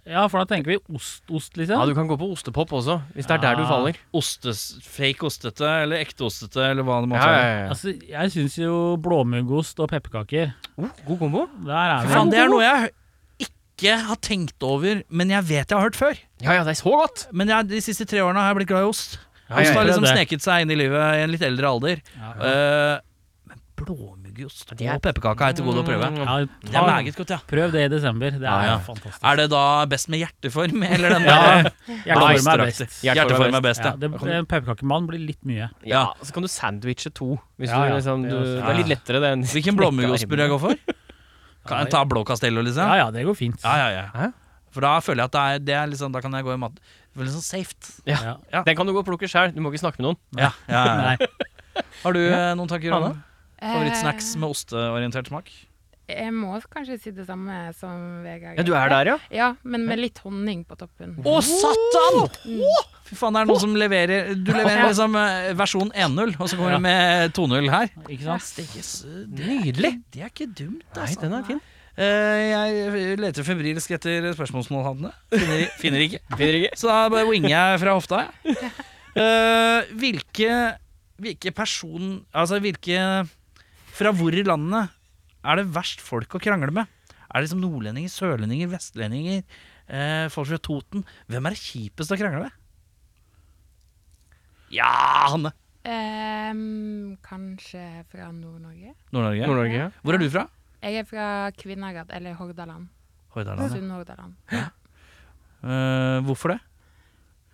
[SPEAKER 3] Ja, for da tenker vi ost, ost
[SPEAKER 2] Ja,
[SPEAKER 3] liksom.
[SPEAKER 2] Du kan gå på ostepop også, hvis det er der du
[SPEAKER 3] Ja.
[SPEAKER 2] faller.
[SPEAKER 1] Ostes, fake ostete eller ekte ostete eller hva det måtte
[SPEAKER 2] Ja, ja,
[SPEAKER 1] være.
[SPEAKER 2] ja, ja.
[SPEAKER 3] Altså, jeg syns jo blåmuggost og pepperkaker,
[SPEAKER 2] Oh, god kombo.
[SPEAKER 3] der er
[SPEAKER 1] Fy
[SPEAKER 3] vi.
[SPEAKER 1] faen, det er noe jeg ikke har tenkt over, men jeg vet jeg har hørt før.
[SPEAKER 2] Ja, ja, det er så godt.
[SPEAKER 1] Men jeg, de siste tre årene har jeg blitt glad i ost.
[SPEAKER 2] Ja, ja,
[SPEAKER 1] Ost har
[SPEAKER 2] ja.
[SPEAKER 1] liksom
[SPEAKER 3] det.
[SPEAKER 1] sneket seg inn i livet i en litt eldre alder.
[SPEAKER 3] Ja.
[SPEAKER 1] Eh, men blåmuggost og
[SPEAKER 2] Det er-
[SPEAKER 1] pepperkake er til gode å prøve.
[SPEAKER 2] Mm.
[SPEAKER 3] Ja,
[SPEAKER 1] Det er
[SPEAKER 3] ta,
[SPEAKER 1] meget godt, ja.
[SPEAKER 3] prøv det i desember. Det
[SPEAKER 2] Ja,
[SPEAKER 3] er
[SPEAKER 2] ja.
[SPEAKER 3] fantastisk.
[SPEAKER 1] Er det da best med hjerteform, *laughs* eller den
[SPEAKER 3] Ja,
[SPEAKER 1] der
[SPEAKER 3] Hjerteform er best.
[SPEAKER 1] blomsteraktig? Hjerteform er best,
[SPEAKER 3] Ja,
[SPEAKER 1] ja.
[SPEAKER 3] det, en pepperkakemann blir litt mye.
[SPEAKER 2] Ja, Så kan du sandwiche to. Hvis
[SPEAKER 3] Ja,
[SPEAKER 2] du
[SPEAKER 3] ja.
[SPEAKER 2] liksom,
[SPEAKER 3] Det
[SPEAKER 2] du,
[SPEAKER 3] er
[SPEAKER 2] det
[SPEAKER 3] også-
[SPEAKER 2] er litt lettere, det. enn-
[SPEAKER 1] Hvilken blåmuggost burde jeg gå for? Kan jeg ta blå castello, liksom?
[SPEAKER 3] Ja ja, det går fint.
[SPEAKER 1] Ja, ja, ja.
[SPEAKER 2] Hæ?
[SPEAKER 1] For da føler jeg at det er, det er liksom, da kan jeg gå i mat... Det er liksom safe.
[SPEAKER 2] *laughs* Ja. Den kan du gå og plukke sjøl. Du må ikke snakke med noen.
[SPEAKER 1] Ja, ja, ja. *laughs*
[SPEAKER 3] Nei.
[SPEAKER 1] Har du eh, noen tanker om det?
[SPEAKER 4] eh,
[SPEAKER 1] Favorittsnacks med osteorientert smak?
[SPEAKER 4] Jeg må kanskje si det samme som Vegard.
[SPEAKER 2] Ja, Du er der, ja?
[SPEAKER 4] Ja, men med litt honning på toppen.
[SPEAKER 1] Å, satan! Fy faen, det er noen som leverer Du leverer liksom eh, versjon 1.0, og så kommer du med 2.0 her.
[SPEAKER 3] Ikke sant?
[SPEAKER 1] Stikkes,
[SPEAKER 2] Nydelig.
[SPEAKER 1] Det er ikke dumt, altså.
[SPEAKER 2] Nei, den er fin.
[SPEAKER 1] Eh, Jeg leter febrilsk etter spørsmålsmålhandlene. Finner, finner ikke.
[SPEAKER 2] Finner ikke?
[SPEAKER 1] Så da bare winger jeg fra hofta, jeg. Eh, hvilke, hvilke person Altså hvilke Fra hvor i landet er det verst folk å krangle med? Er det liksom nordlendinger, sørlendinger, vestlendinger, eh, folk fra Toten? Hvem er det kjipest å krangle med? Ja, Hanne!
[SPEAKER 4] Ehm, kanskje fra Nord-Norge?
[SPEAKER 1] Nord-Norge.
[SPEAKER 2] Nord-Norge. ja.
[SPEAKER 1] Hvor er du fra?
[SPEAKER 4] Jeg er fra Kvinnherad, eller Hordaland.
[SPEAKER 1] Hordaland.
[SPEAKER 4] Sunnhordaland.
[SPEAKER 1] Eh, hvorfor det?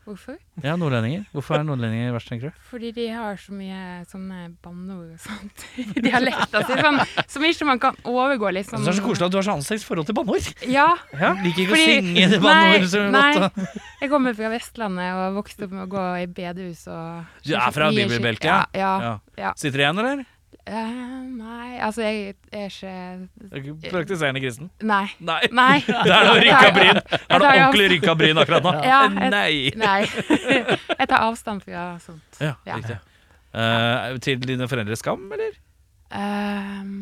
[SPEAKER 4] Hvorfor?
[SPEAKER 1] Ja, nordlendinger. Hvorfor er nordlendinger verst, tenker du?
[SPEAKER 4] Fordi de har så mye sånne banneord og sånt *laughs* i dialekta si, sånn, som ikke man kan overgå, liksom.
[SPEAKER 1] det er så koselig at du har så anstrengt forhold til banneord.
[SPEAKER 4] Ja,
[SPEAKER 1] Liker ikke
[SPEAKER 4] Fordi-
[SPEAKER 1] å synge det banneord så
[SPEAKER 4] nei,
[SPEAKER 1] godt. da.
[SPEAKER 4] jeg kommer fra Vestlandet og vokste opp med å gå i bedehus og
[SPEAKER 1] Du er fra
[SPEAKER 4] Mye skikk-
[SPEAKER 1] bibelbeltet, ja.
[SPEAKER 4] ja? Ja.
[SPEAKER 1] Ja.
[SPEAKER 4] ja.
[SPEAKER 1] Sitter igjen, eller?
[SPEAKER 4] Eh, nei, altså jeg er ikke
[SPEAKER 1] Er ikke Praktiserende kristen.
[SPEAKER 4] Nei.
[SPEAKER 1] Nei.
[SPEAKER 4] Nei.
[SPEAKER 1] *laughs*
[SPEAKER 4] Altså,
[SPEAKER 1] Der er det rykka bryn! Er det
[SPEAKER 4] tar jo-
[SPEAKER 1] ordentlig rykka bryn akkurat nå?
[SPEAKER 4] *laughs* Ja, jeg-
[SPEAKER 1] Nei!
[SPEAKER 4] *laughs* Nei. *laughs* Jeg tar avstand fra sånt.
[SPEAKER 1] Ja,
[SPEAKER 4] Ja.
[SPEAKER 1] riktig. Eh, til dine foreldres skam, eller?
[SPEAKER 4] Ehm,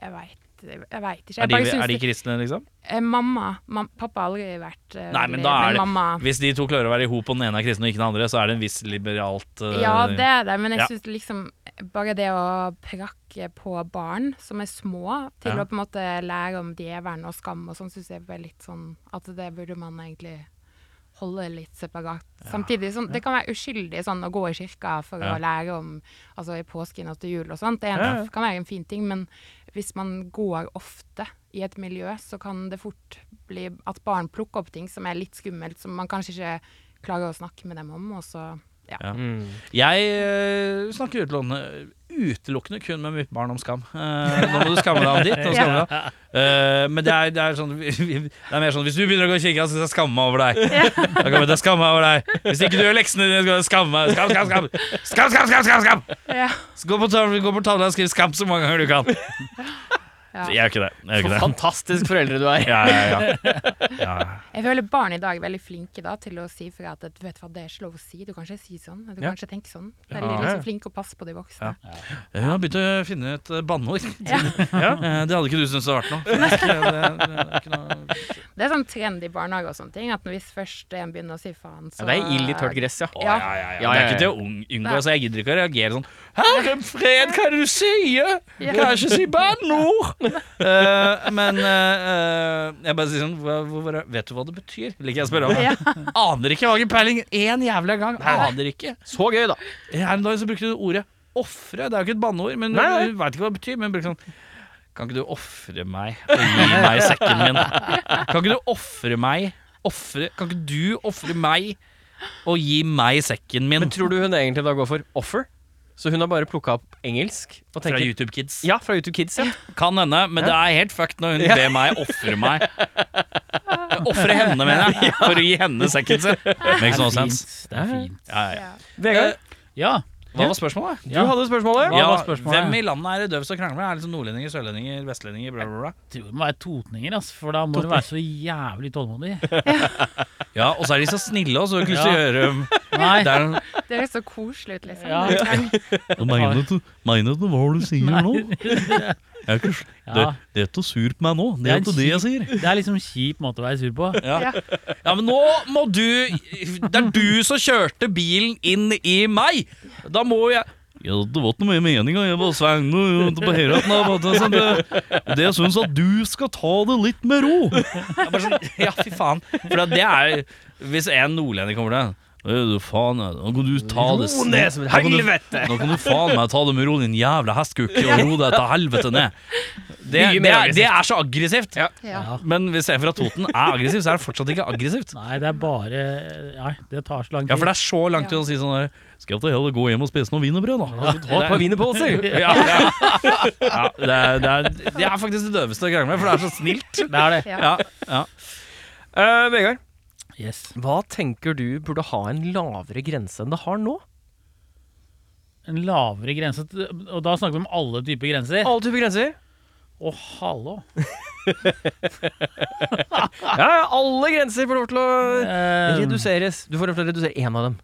[SPEAKER 4] jeg veit jeg vet ikke. Jeg
[SPEAKER 1] Er de,
[SPEAKER 4] bare syns
[SPEAKER 1] er de
[SPEAKER 4] det-
[SPEAKER 1] kristne, liksom?
[SPEAKER 4] eh, mamma, mam, Pappa har aldri vært eh,
[SPEAKER 1] Nei, men
[SPEAKER 4] veldig-
[SPEAKER 1] da er det-
[SPEAKER 4] mamma,
[SPEAKER 1] Hvis de to klarer å være i hop og den ene er kristen og ikke den andre, så er det en viss liberalt eh,
[SPEAKER 4] Ja, det er det, men jeg
[SPEAKER 1] ja.
[SPEAKER 4] syns liksom bare det å prakke på barn som er små, til
[SPEAKER 1] Ja.
[SPEAKER 4] å på en måte lære om djevelen og skam og sånn, syns jeg er litt sånn at det burde man egentlig holde litt separat. Samtidig sånn, Det kan være uskyldig sånn å gå i kirka for
[SPEAKER 1] Ja.
[SPEAKER 4] å lære om altså i påsken og til jul og sånt. Det er en,
[SPEAKER 1] Ja, ja.
[SPEAKER 4] kan være en fin ting, men hvis man går ofte i et miljø, så kan det fort bli at barn plukker opp ting som er litt skummelt, som man kanskje ikke klarer å snakke med dem om. Og så, ja.
[SPEAKER 1] Ja.
[SPEAKER 2] Mm.
[SPEAKER 1] Jeg eh, snakker utelukkende, utelukkende kun med mitt barn om skam. Eh, nå må du skamme deg om ditt. Nå skammer du deg. Eh, men det er, det, er sånn, *laughs* det er mer sånn hvis du begynner å gå i kirka, så skal jeg skamme meg over deg. Da kommer jeg til å skamme meg over deg Hvis ikke du gjør leksene dine, skal jeg skamme meg. Skam, skam, skam! Skam, skam, skam, skam, skam.
[SPEAKER 4] Ja.
[SPEAKER 1] Så Gå på tavla gå på tavla og skriv 'skam' så mange ganger du kan. Jeg er ikke det. Jeg er
[SPEAKER 2] For
[SPEAKER 1] ikke det.
[SPEAKER 2] fantastisk foreldre du er.
[SPEAKER 1] *laughs* Ja, ja, ja. ja.
[SPEAKER 4] Jeg føler barn i dag er veldig flinke da, til å si fra at vet du hva, det er ikke lov å si. Du kan ikke si sånn. Du
[SPEAKER 1] Ja.
[SPEAKER 4] kan ikke tenke sånn. Det er
[SPEAKER 2] Ja.
[SPEAKER 4] liksom flinke å passe på de voksne.
[SPEAKER 1] Jeg har begynt å finne et eh, banneord.
[SPEAKER 4] Ja.
[SPEAKER 1] *laughs* Eh, Det hadde ikke du syntes hadde vært noe. Det er ikke- det er- det er ikke noe.
[SPEAKER 4] Det er sånn trend i barnehage og sånne ting, at hvis først en begynner å si faen, så
[SPEAKER 2] Ja, det er ild i tørt gress, ja.
[SPEAKER 1] Å, ja, ja, ja.
[SPEAKER 2] Ja,
[SPEAKER 1] Det
[SPEAKER 2] ja,
[SPEAKER 1] er
[SPEAKER 2] ja.
[SPEAKER 1] ikke til å un- unngå.
[SPEAKER 4] Nei.
[SPEAKER 1] Altså, jeg gidder ikke å reagere sånn Herre fred, hva er det du sier?!
[SPEAKER 4] Ja.
[SPEAKER 1] Kan ikke si banneord! Eh, men eh, eh, jeg bare sier sånn hva, hvor, hvor, Vet du hva det betyr? Liker jeg å spørre om.
[SPEAKER 4] Ja.
[SPEAKER 1] Aner ikke. Har ikke peiling én jævla gang. Aner ikke.
[SPEAKER 2] Så gøy, da.
[SPEAKER 1] Eh, Her om dagen så brukte du ordet ofre. Det er jo ikke et banneord, men
[SPEAKER 2] Nei, nei.
[SPEAKER 1] du veit ikke hva det betyr. Men brukte sånn Kan ikke du ofre meg og gi meg sekken min? Kan ikke du ofre meg Offre Kan ikke du ofre meg og gi meg sekken min?
[SPEAKER 2] Men tror du hun egentlig da går for offer? Så hun har bare plukka opp engelsk? Og
[SPEAKER 1] Fra
[SPEAKER 2] tenker,
[SPEAKER 1] YouTube Kids.
[SPEAKER 2] Ja, fra
[SPEAKER 1] *laughs*
[SPEAKER 2] YouTube Kids, ja.
[SPEAKER 1] Kan hende, men det er helt fucked når hun
[SPEAKER 2] Ja.
[SPEAKER 1] ber meg ofre meg. Ofre henne, mener jeg, for å gi henne sekken sin. Makes no sense.
[SPEAKER 3] Det er fint.
[SPEAKER 1] sånn Ja, ja.
[SPEAKER 4] Ja.
[SPEAKER 2] Vegard,
[SPEAKER 3] Ja.
[SPEAKER 1] Hva var spørsmålet?
[SPEAKER 2] Eh, du
[SPEAKER 3] ja.
[SPEAKER 2] hadde spørsmålet.
[SPEAKER 3] Hva
[SPEAKER 1] Ja,
[SPEAKER 3] var spørsmålet?
[SPEAKER 1] hvem i landet er det døvest og krangler? Er det liksom nordlendinger, sørlendinger, vestlendinger, bla, bla, bla?
[SPEAKER 3] Det må være totninger, ass, for da må du være så jævlig tålmodig.
[SPEAKER 1] *laughs* Ja, og så er de så snille, og så har vi ikke lyst
[SPEAKER 3] Ja.
[SPEAKER 1] til å gjøre um,
[SPEAKER 3] Nei,
[SPEAKER 1] det er en,
[SPEAKER 4] *laughs* Det høres så koselig ut, liksom.
[SPEAKER 3] Ja.
[SPEAKER 4] Ja.
[SPEAKER 3] Mener
[SPEAKER 1] du, hva du sier nå?
[SPEAKER 3] ja.
[SPEAKER 1] det er ikke sur på meg nå.
[SPEAKER 3] Det er Det er ikke det jeg
[SPEAKER 1] sier.
[SPEAKER 3] Det er liksom kjip måte å være sur på.
[SPEAKER 1] Ja. ja, men nå må du Det er du som kjørte bilen inn i meg! Da må jeg ja, Det var ikke noe mer meninga. Jeg var sveng på høyrehatten. Det jeg syns at du skal ta det litt med ro. Jeg bare sånn, ja, fy faen. For det er Hvis en nordlending kommer til deg Du faen, nå kan du ta det
[SPEAKER 2] Ro ned som et
[SPEAKER 1] Nå kan du-
[SPEAKER 2] helvete!
[SPEAKER 1] Nå kan du faen meg ta det med ro, din jævla hestkuk, og ro deg til helvete ned. Det,
[SPEAKER 2] Mye mer
[SPEAKER 1] det, er,
[SPEAKER 2] aggressivt.
[SPEAKER 1] det er så aggressivt.
[SPEAKER 4] Ja.
[SPEAKER 3] Ja.
[SPEAKER 1] Men hvis en fra Toten er aggressiv, så er det fortsatt ikke aggressivt.
[SPEAKER 3] Nei, det er bare Nei, det tar så lang
[SPEAKER 1] Ja,
[SPEAKER 3] tid.
[SPEAKER 1] for det er så langt til å si sånn der Skal jeg ta heller gå hjem og spise noen wienerbrød, da?
[SPEAKER 2] Ta et par wienerpølser.
[SPEAKER 1] *laughs* Ja, ja. ja det, er, det, er, det er faktisk det døveste å krangle med, for det er så snilt.
[SPEAKER 3] Det er det.
[SPEAKER 4] Ja.
[SPEAKER 1] Ja, ja.
[SPEAKER 2] Eh, Vegard,
[SPEAKER 3] Yes.
[SPEAKER 2] hva tenker du burde ha en lavere grense enn det har nå?
[SPEAKER 3] En lavere grense Og da snakker vi om alle typer grenser.
[SPEAKER 2] Alle typer grenser.
[SPEAKER 3] Å,
[SPEAKER 1] *laughs*
[SPEAKER 3] hallo.
[SPEAKER 2] Ja, ja, alle grenser får lov til å
[SPEAKER 3] Eh,
[SPEAKER 2] reduseres. Du får lov til å redusere én av dem.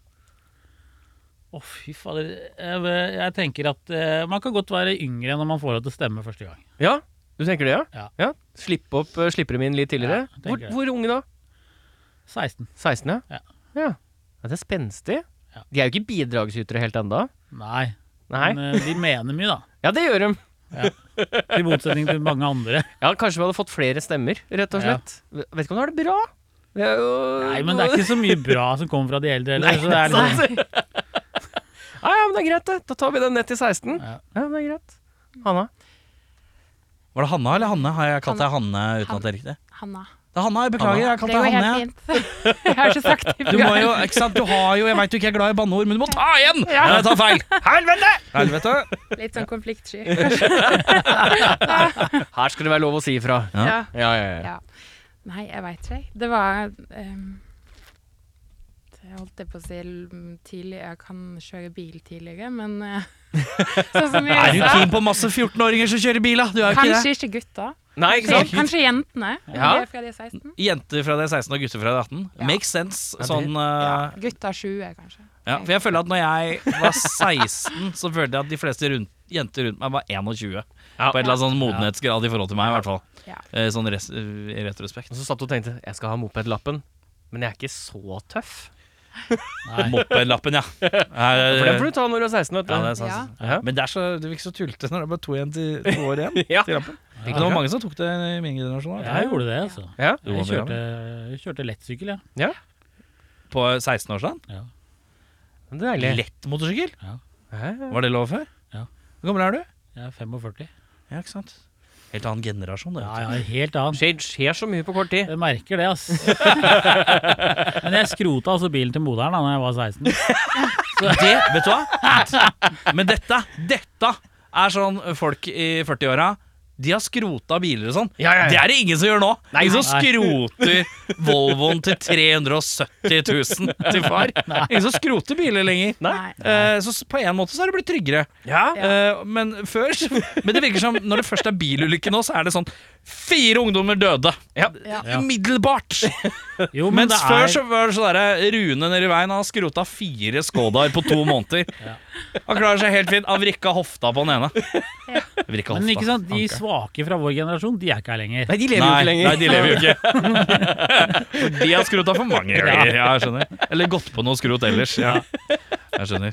[SPEAKER 3] Å, fy fader. Jeg, jeg tenker at eh, man kan godt være yngre når man får lov til å stemme første gang.
[SPEAKER 2] Ja, du tenker det, ja?
[SPEAKER 3] Ja.
[SPEAKER 2] Slipp opp eh, slippere min litt tidligere.
[SPEAKER 3] Ja, tenker
[SPEAKER 2] hvor,
[SPEAKER 3] jeg.
[SPEAKER 2] hvor unge da?
[SPEAKER 3] 16.
[SPEAKER 2] 16, ja?
[SPEAKER 3] Ja.
[SPEAKER 2] ja. Ja, det er spenstig.
[SPEAKER 3] Ja.
[SPEAKER 2] De er jo ikke bidragsytere helt enda.
[SPEAKER 3] Nei.
[SPEAKER 2] Nei.
[SPEAKER 3] Men eh, de mener mye, da.
[SPEAKER 2] Ja, det gjør de.
[SPEAKER 3] I motsetning til mange andre.
[SPEAKER 2] Ja, kanskje vi hadde fått flere stemmer, rett og
[SPEAKER 3] Ja.
[SPEAKER 2] slett. V- Vet ikke om du har det bra. Det er jo
[SPEAKER 3] Nei, men det er ikke så mye bra som kommer fra de eldre heller. Så det er liksom,
[SPEAKER 2] sant. *laughs* Nei, ja, men det er greit, det. Da tar vi den ned til 16. Ja,
[SPEAKER 3] Ja.
[SPEAKER 2] men det er greit. Hanna.
[SPEAKER 1] Var det Hanna eller Hanne? Har jeg kalt deg Hanne uten at det er riktig?
[SPEAKER 4] Hanna.
[SPEAKER 1] Det er Hanna, jeg beklager. Jeg har
[SPEAKER 4] Det
[SPEAKER 1] kalt
[SPEAKER 4] går
[SPEAKER 1] deg
[SPEAKER 4] helt
[SPEAKER 1] Hanne.
[SPEAKER 4] fint. *laughs* Jeg har ikke sagt det
[SPEAKER 1] *laughs* Du må jo, ikke sant, du har jo Jeg veit du ikke er glad i banneord, men du må ta igjen!
[SPEAKER 4] Ja.
[SPEAKER 1] Nei, jeg tar feil. Helvete! Helvete.
[SPEAKER 4] Litt sånn konfliktsky. kanskje.
[SPEAKER 2] *laughs* Her skal det være lov å si ifra.
[SPEAKER 1] Ja.
[SPEAKER 4] Ja.
[SPEAKER 2] Ja, ja, ja.
[SPEAKER 4] Ja. *laughs* Nei, jeg veit ikke. Det var ehm, Jeg holdt det på å si l- tidlig Jeg kan kjøre bil tidligere, men eh, *laughs* sånn som vi
[SPEAKER 1] Er du
[SPEAKER 4] sa
[SPEAKER 1] keen på masse 14-åringer som kjører bil, da? Du er jo ikke det.
[SPEAKER 4] Kanskje ikke gutta.
[SPEAKER 2] Nei, ikke
[SPEAKER 4] Kanskje,
[SPEAKER 2] sant?
[SPEAKER 4] kanskje jentene.
[SPEAKER 2] Ja.
[SPEAKER 4] de er Fra de er 16.
[SPEAKER 1] Jenter fra det er 16 og gutter fra det er 18.
[SPEAKER 4] Ja.
[SPEAKER 1] Makes sense.
[SPEAKER 2] det-
[SPEAKER 1] Sånn
[SPEAKER 4] Ja,
[SPEAKER 1] eh,
[SPEAKER 4] gutta 20, kanskje.
[SPEAKER 1] ja. For jeg føler at når jeg var 16, så følte jeg at de fleste rundt, jenter rundt meg var 21.
[SPEAKER 2] Ja.
[SPEAKER 1] På et eller annet sånn modenhetsgrad i forhold til meg, i hvert fall.
[SPEAKER 4] Ja.
[SPEAKER 1] Eh, Sånn res i retrospekt.
[SPEAKER 2] Og så satt du og tenkte jeg skal ha mopedlappen, men jeg er ikke så tøff.
[SPEAKER 3] nei.
[SPEAKER 1] Moppelappen, ja.
[SPEAKER 2] For den
[SPEAKER 1] Eh,
[SPEAKER 2] får du ta når du er 16, vet du.
[SPEAKER 1] ja, det er sant.
[SPEAKER 4] Ja.
[SPEAKER 2] Ja.
[SPEAKER 1] Men det er så, du virker så tullete når det er bare to, igjen til, to år igjen.
[SPEAKER 2] Ja.
[SPEAKER 1] til lappen.
[SPEAKER 2] Ja.
[SPEAKER 1] Men Det var mange som tok det i min generasjon. Da.
[SPEAKER 3] Jeg gjorde det, altså.
[SPEAKER 2] Ja.
[SPEAKER 1] Jo,
[SPEAKER 3] Jeg kjørte, jeg kjørte lettsykkel, jeg.
[SPEAKER 1] På 16-årsdagen.
[SPEAKER 2] Men Det er deilig.
[SPEAKER 1] Lett motorsykkel.
[SPEAKER 2] Ja, ja.
[SPEAKER 1] Var det lov før?
[SPEAKER 3] Ja.
[SPEAKER 1] Hvor gammel er du?
[SPEAKER 3] Jeg er 45.
[SPEAKER 1] Ja, ikke sant. Helt annen generasjon, det.
[SPEAKER 3] Ja,
[SPEAKER 1] vet du.
[SPEAKER 3] ja, helt annen.
[SPEAKER 2] Skjer, skjer så mye på kort tid.
[SPEAKER 3] Jeg merker det, ass. Men jeg skrota altså bilen til moderen da når jeg var 16.
[SPEAKER 1] Det, vet du hva? Men dette, dette er sånn folk i 40-åra De har skrota biler og sånn.
[SPEAKER 2] Ja, ja, ja.
[SPEAKER 1] Det er det ingen som gjør nå!
[SPEAKER 2] Nei,
[SPEAKER 1] ingen som
[SPEAKER 3] nei.
[SPEAKER 1] skroter Volvoen til 370 000 til far. Ingen som skroter biler lenger.
[SPEAKER 4] Nei.
[SPEAKER 1] Eh, så s- på en måte så har det blitt tryggere.
[SPEAKER 2] Ja.
[SPEAKER 1] Eh, men før så- Men det virker som når det først er bilulykke nå, så er det sånn Fire ungdommer døde. Eh,
[SPEAKER 4] Ja.
[SPEAKER 1] Umiddelbart!
[SPEAKER 3] Jo, men
[SPEAKER 1] Mens
[SPEAKER 3] det
[SPEAKER 1] før
[SPEAKER 3] er,
[SPEAKER 1] så var det sånn derre Rune nedi veien han har skrota fire Skodaer på to
[SPEAKER 3] *laughs*
[SPEAKER 1] måneder. Han klarer seg helt fint. Han vrikka hofta på den ene.
[SPEAKER 4] Ja.
[SPEAKER 1] Vrikka
[SPEAKER 3] men ikke
[SPEAKER 1] hofta.
[SPEAKER 3] sant, de svake fra vår generasjon, de er ikke her lenger.
[SPEAKER 2] Nei, de lever jo
[SPEAKER 1] Nei,
[SPEAKER 2] ikke lenger.
[SPEAKER 1] nei, de lever jo
[SPEAKER 2] *laughs*
[SPEAKER 1] ikke. *laughs* For de har skrota for mange ganger. Ja, jeg skjønner. Eller gått på noe skrot ellers. Ja. Jeg skjønner.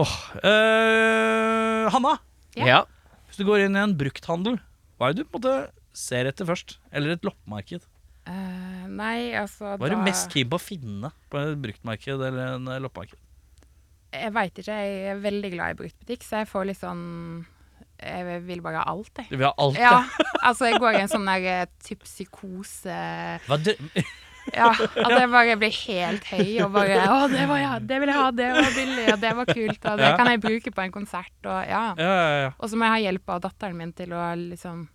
[SPEAKER 1] Åh, eh, Hanna,
[SPEAKER 4] Ja.
[SPEAKER 2] Ja.
[SPEAKER 1] hvis du går inn i en brukthandel, hva er det du på en måte ser etter først? Eller et loppemarked?
[SPEAKER 4] Eh, nei, altså
[SPEAKER 1] Hva er
[SPEAKER 4] da-
[SPEAKER 1] du mest keen på å finne på et bruktmarked eller en eh, loppemarked?
[SPEAKER 4] Jeg veit ikke. Jeg er veldig glad i bruktbutikk, så jeg får litt sånn Jeg vil bare ha alt, jeg.
[SPEAKER 1] Du vil ha alt, ja.
[SPEAKER 4] Ja, altså jeg går i en sånn der eh, typ psykose
[SPEAKER 1] Hva dø- *laughs*
[SPEAKER 4] Ja, at jeg bare blir helt høy og bare Å, det var ja, det vil jeg ha, det var billig, og det var kult, og det
[SPEAKER 1] Ja.
[SPEAKER 4] kan jeg bruke på en konsert, og ja.
[SPEAKER 1] ja, ja, ja.
[SPEAKER 4] Og så må jeg ha hjelp av datteren min til å liksom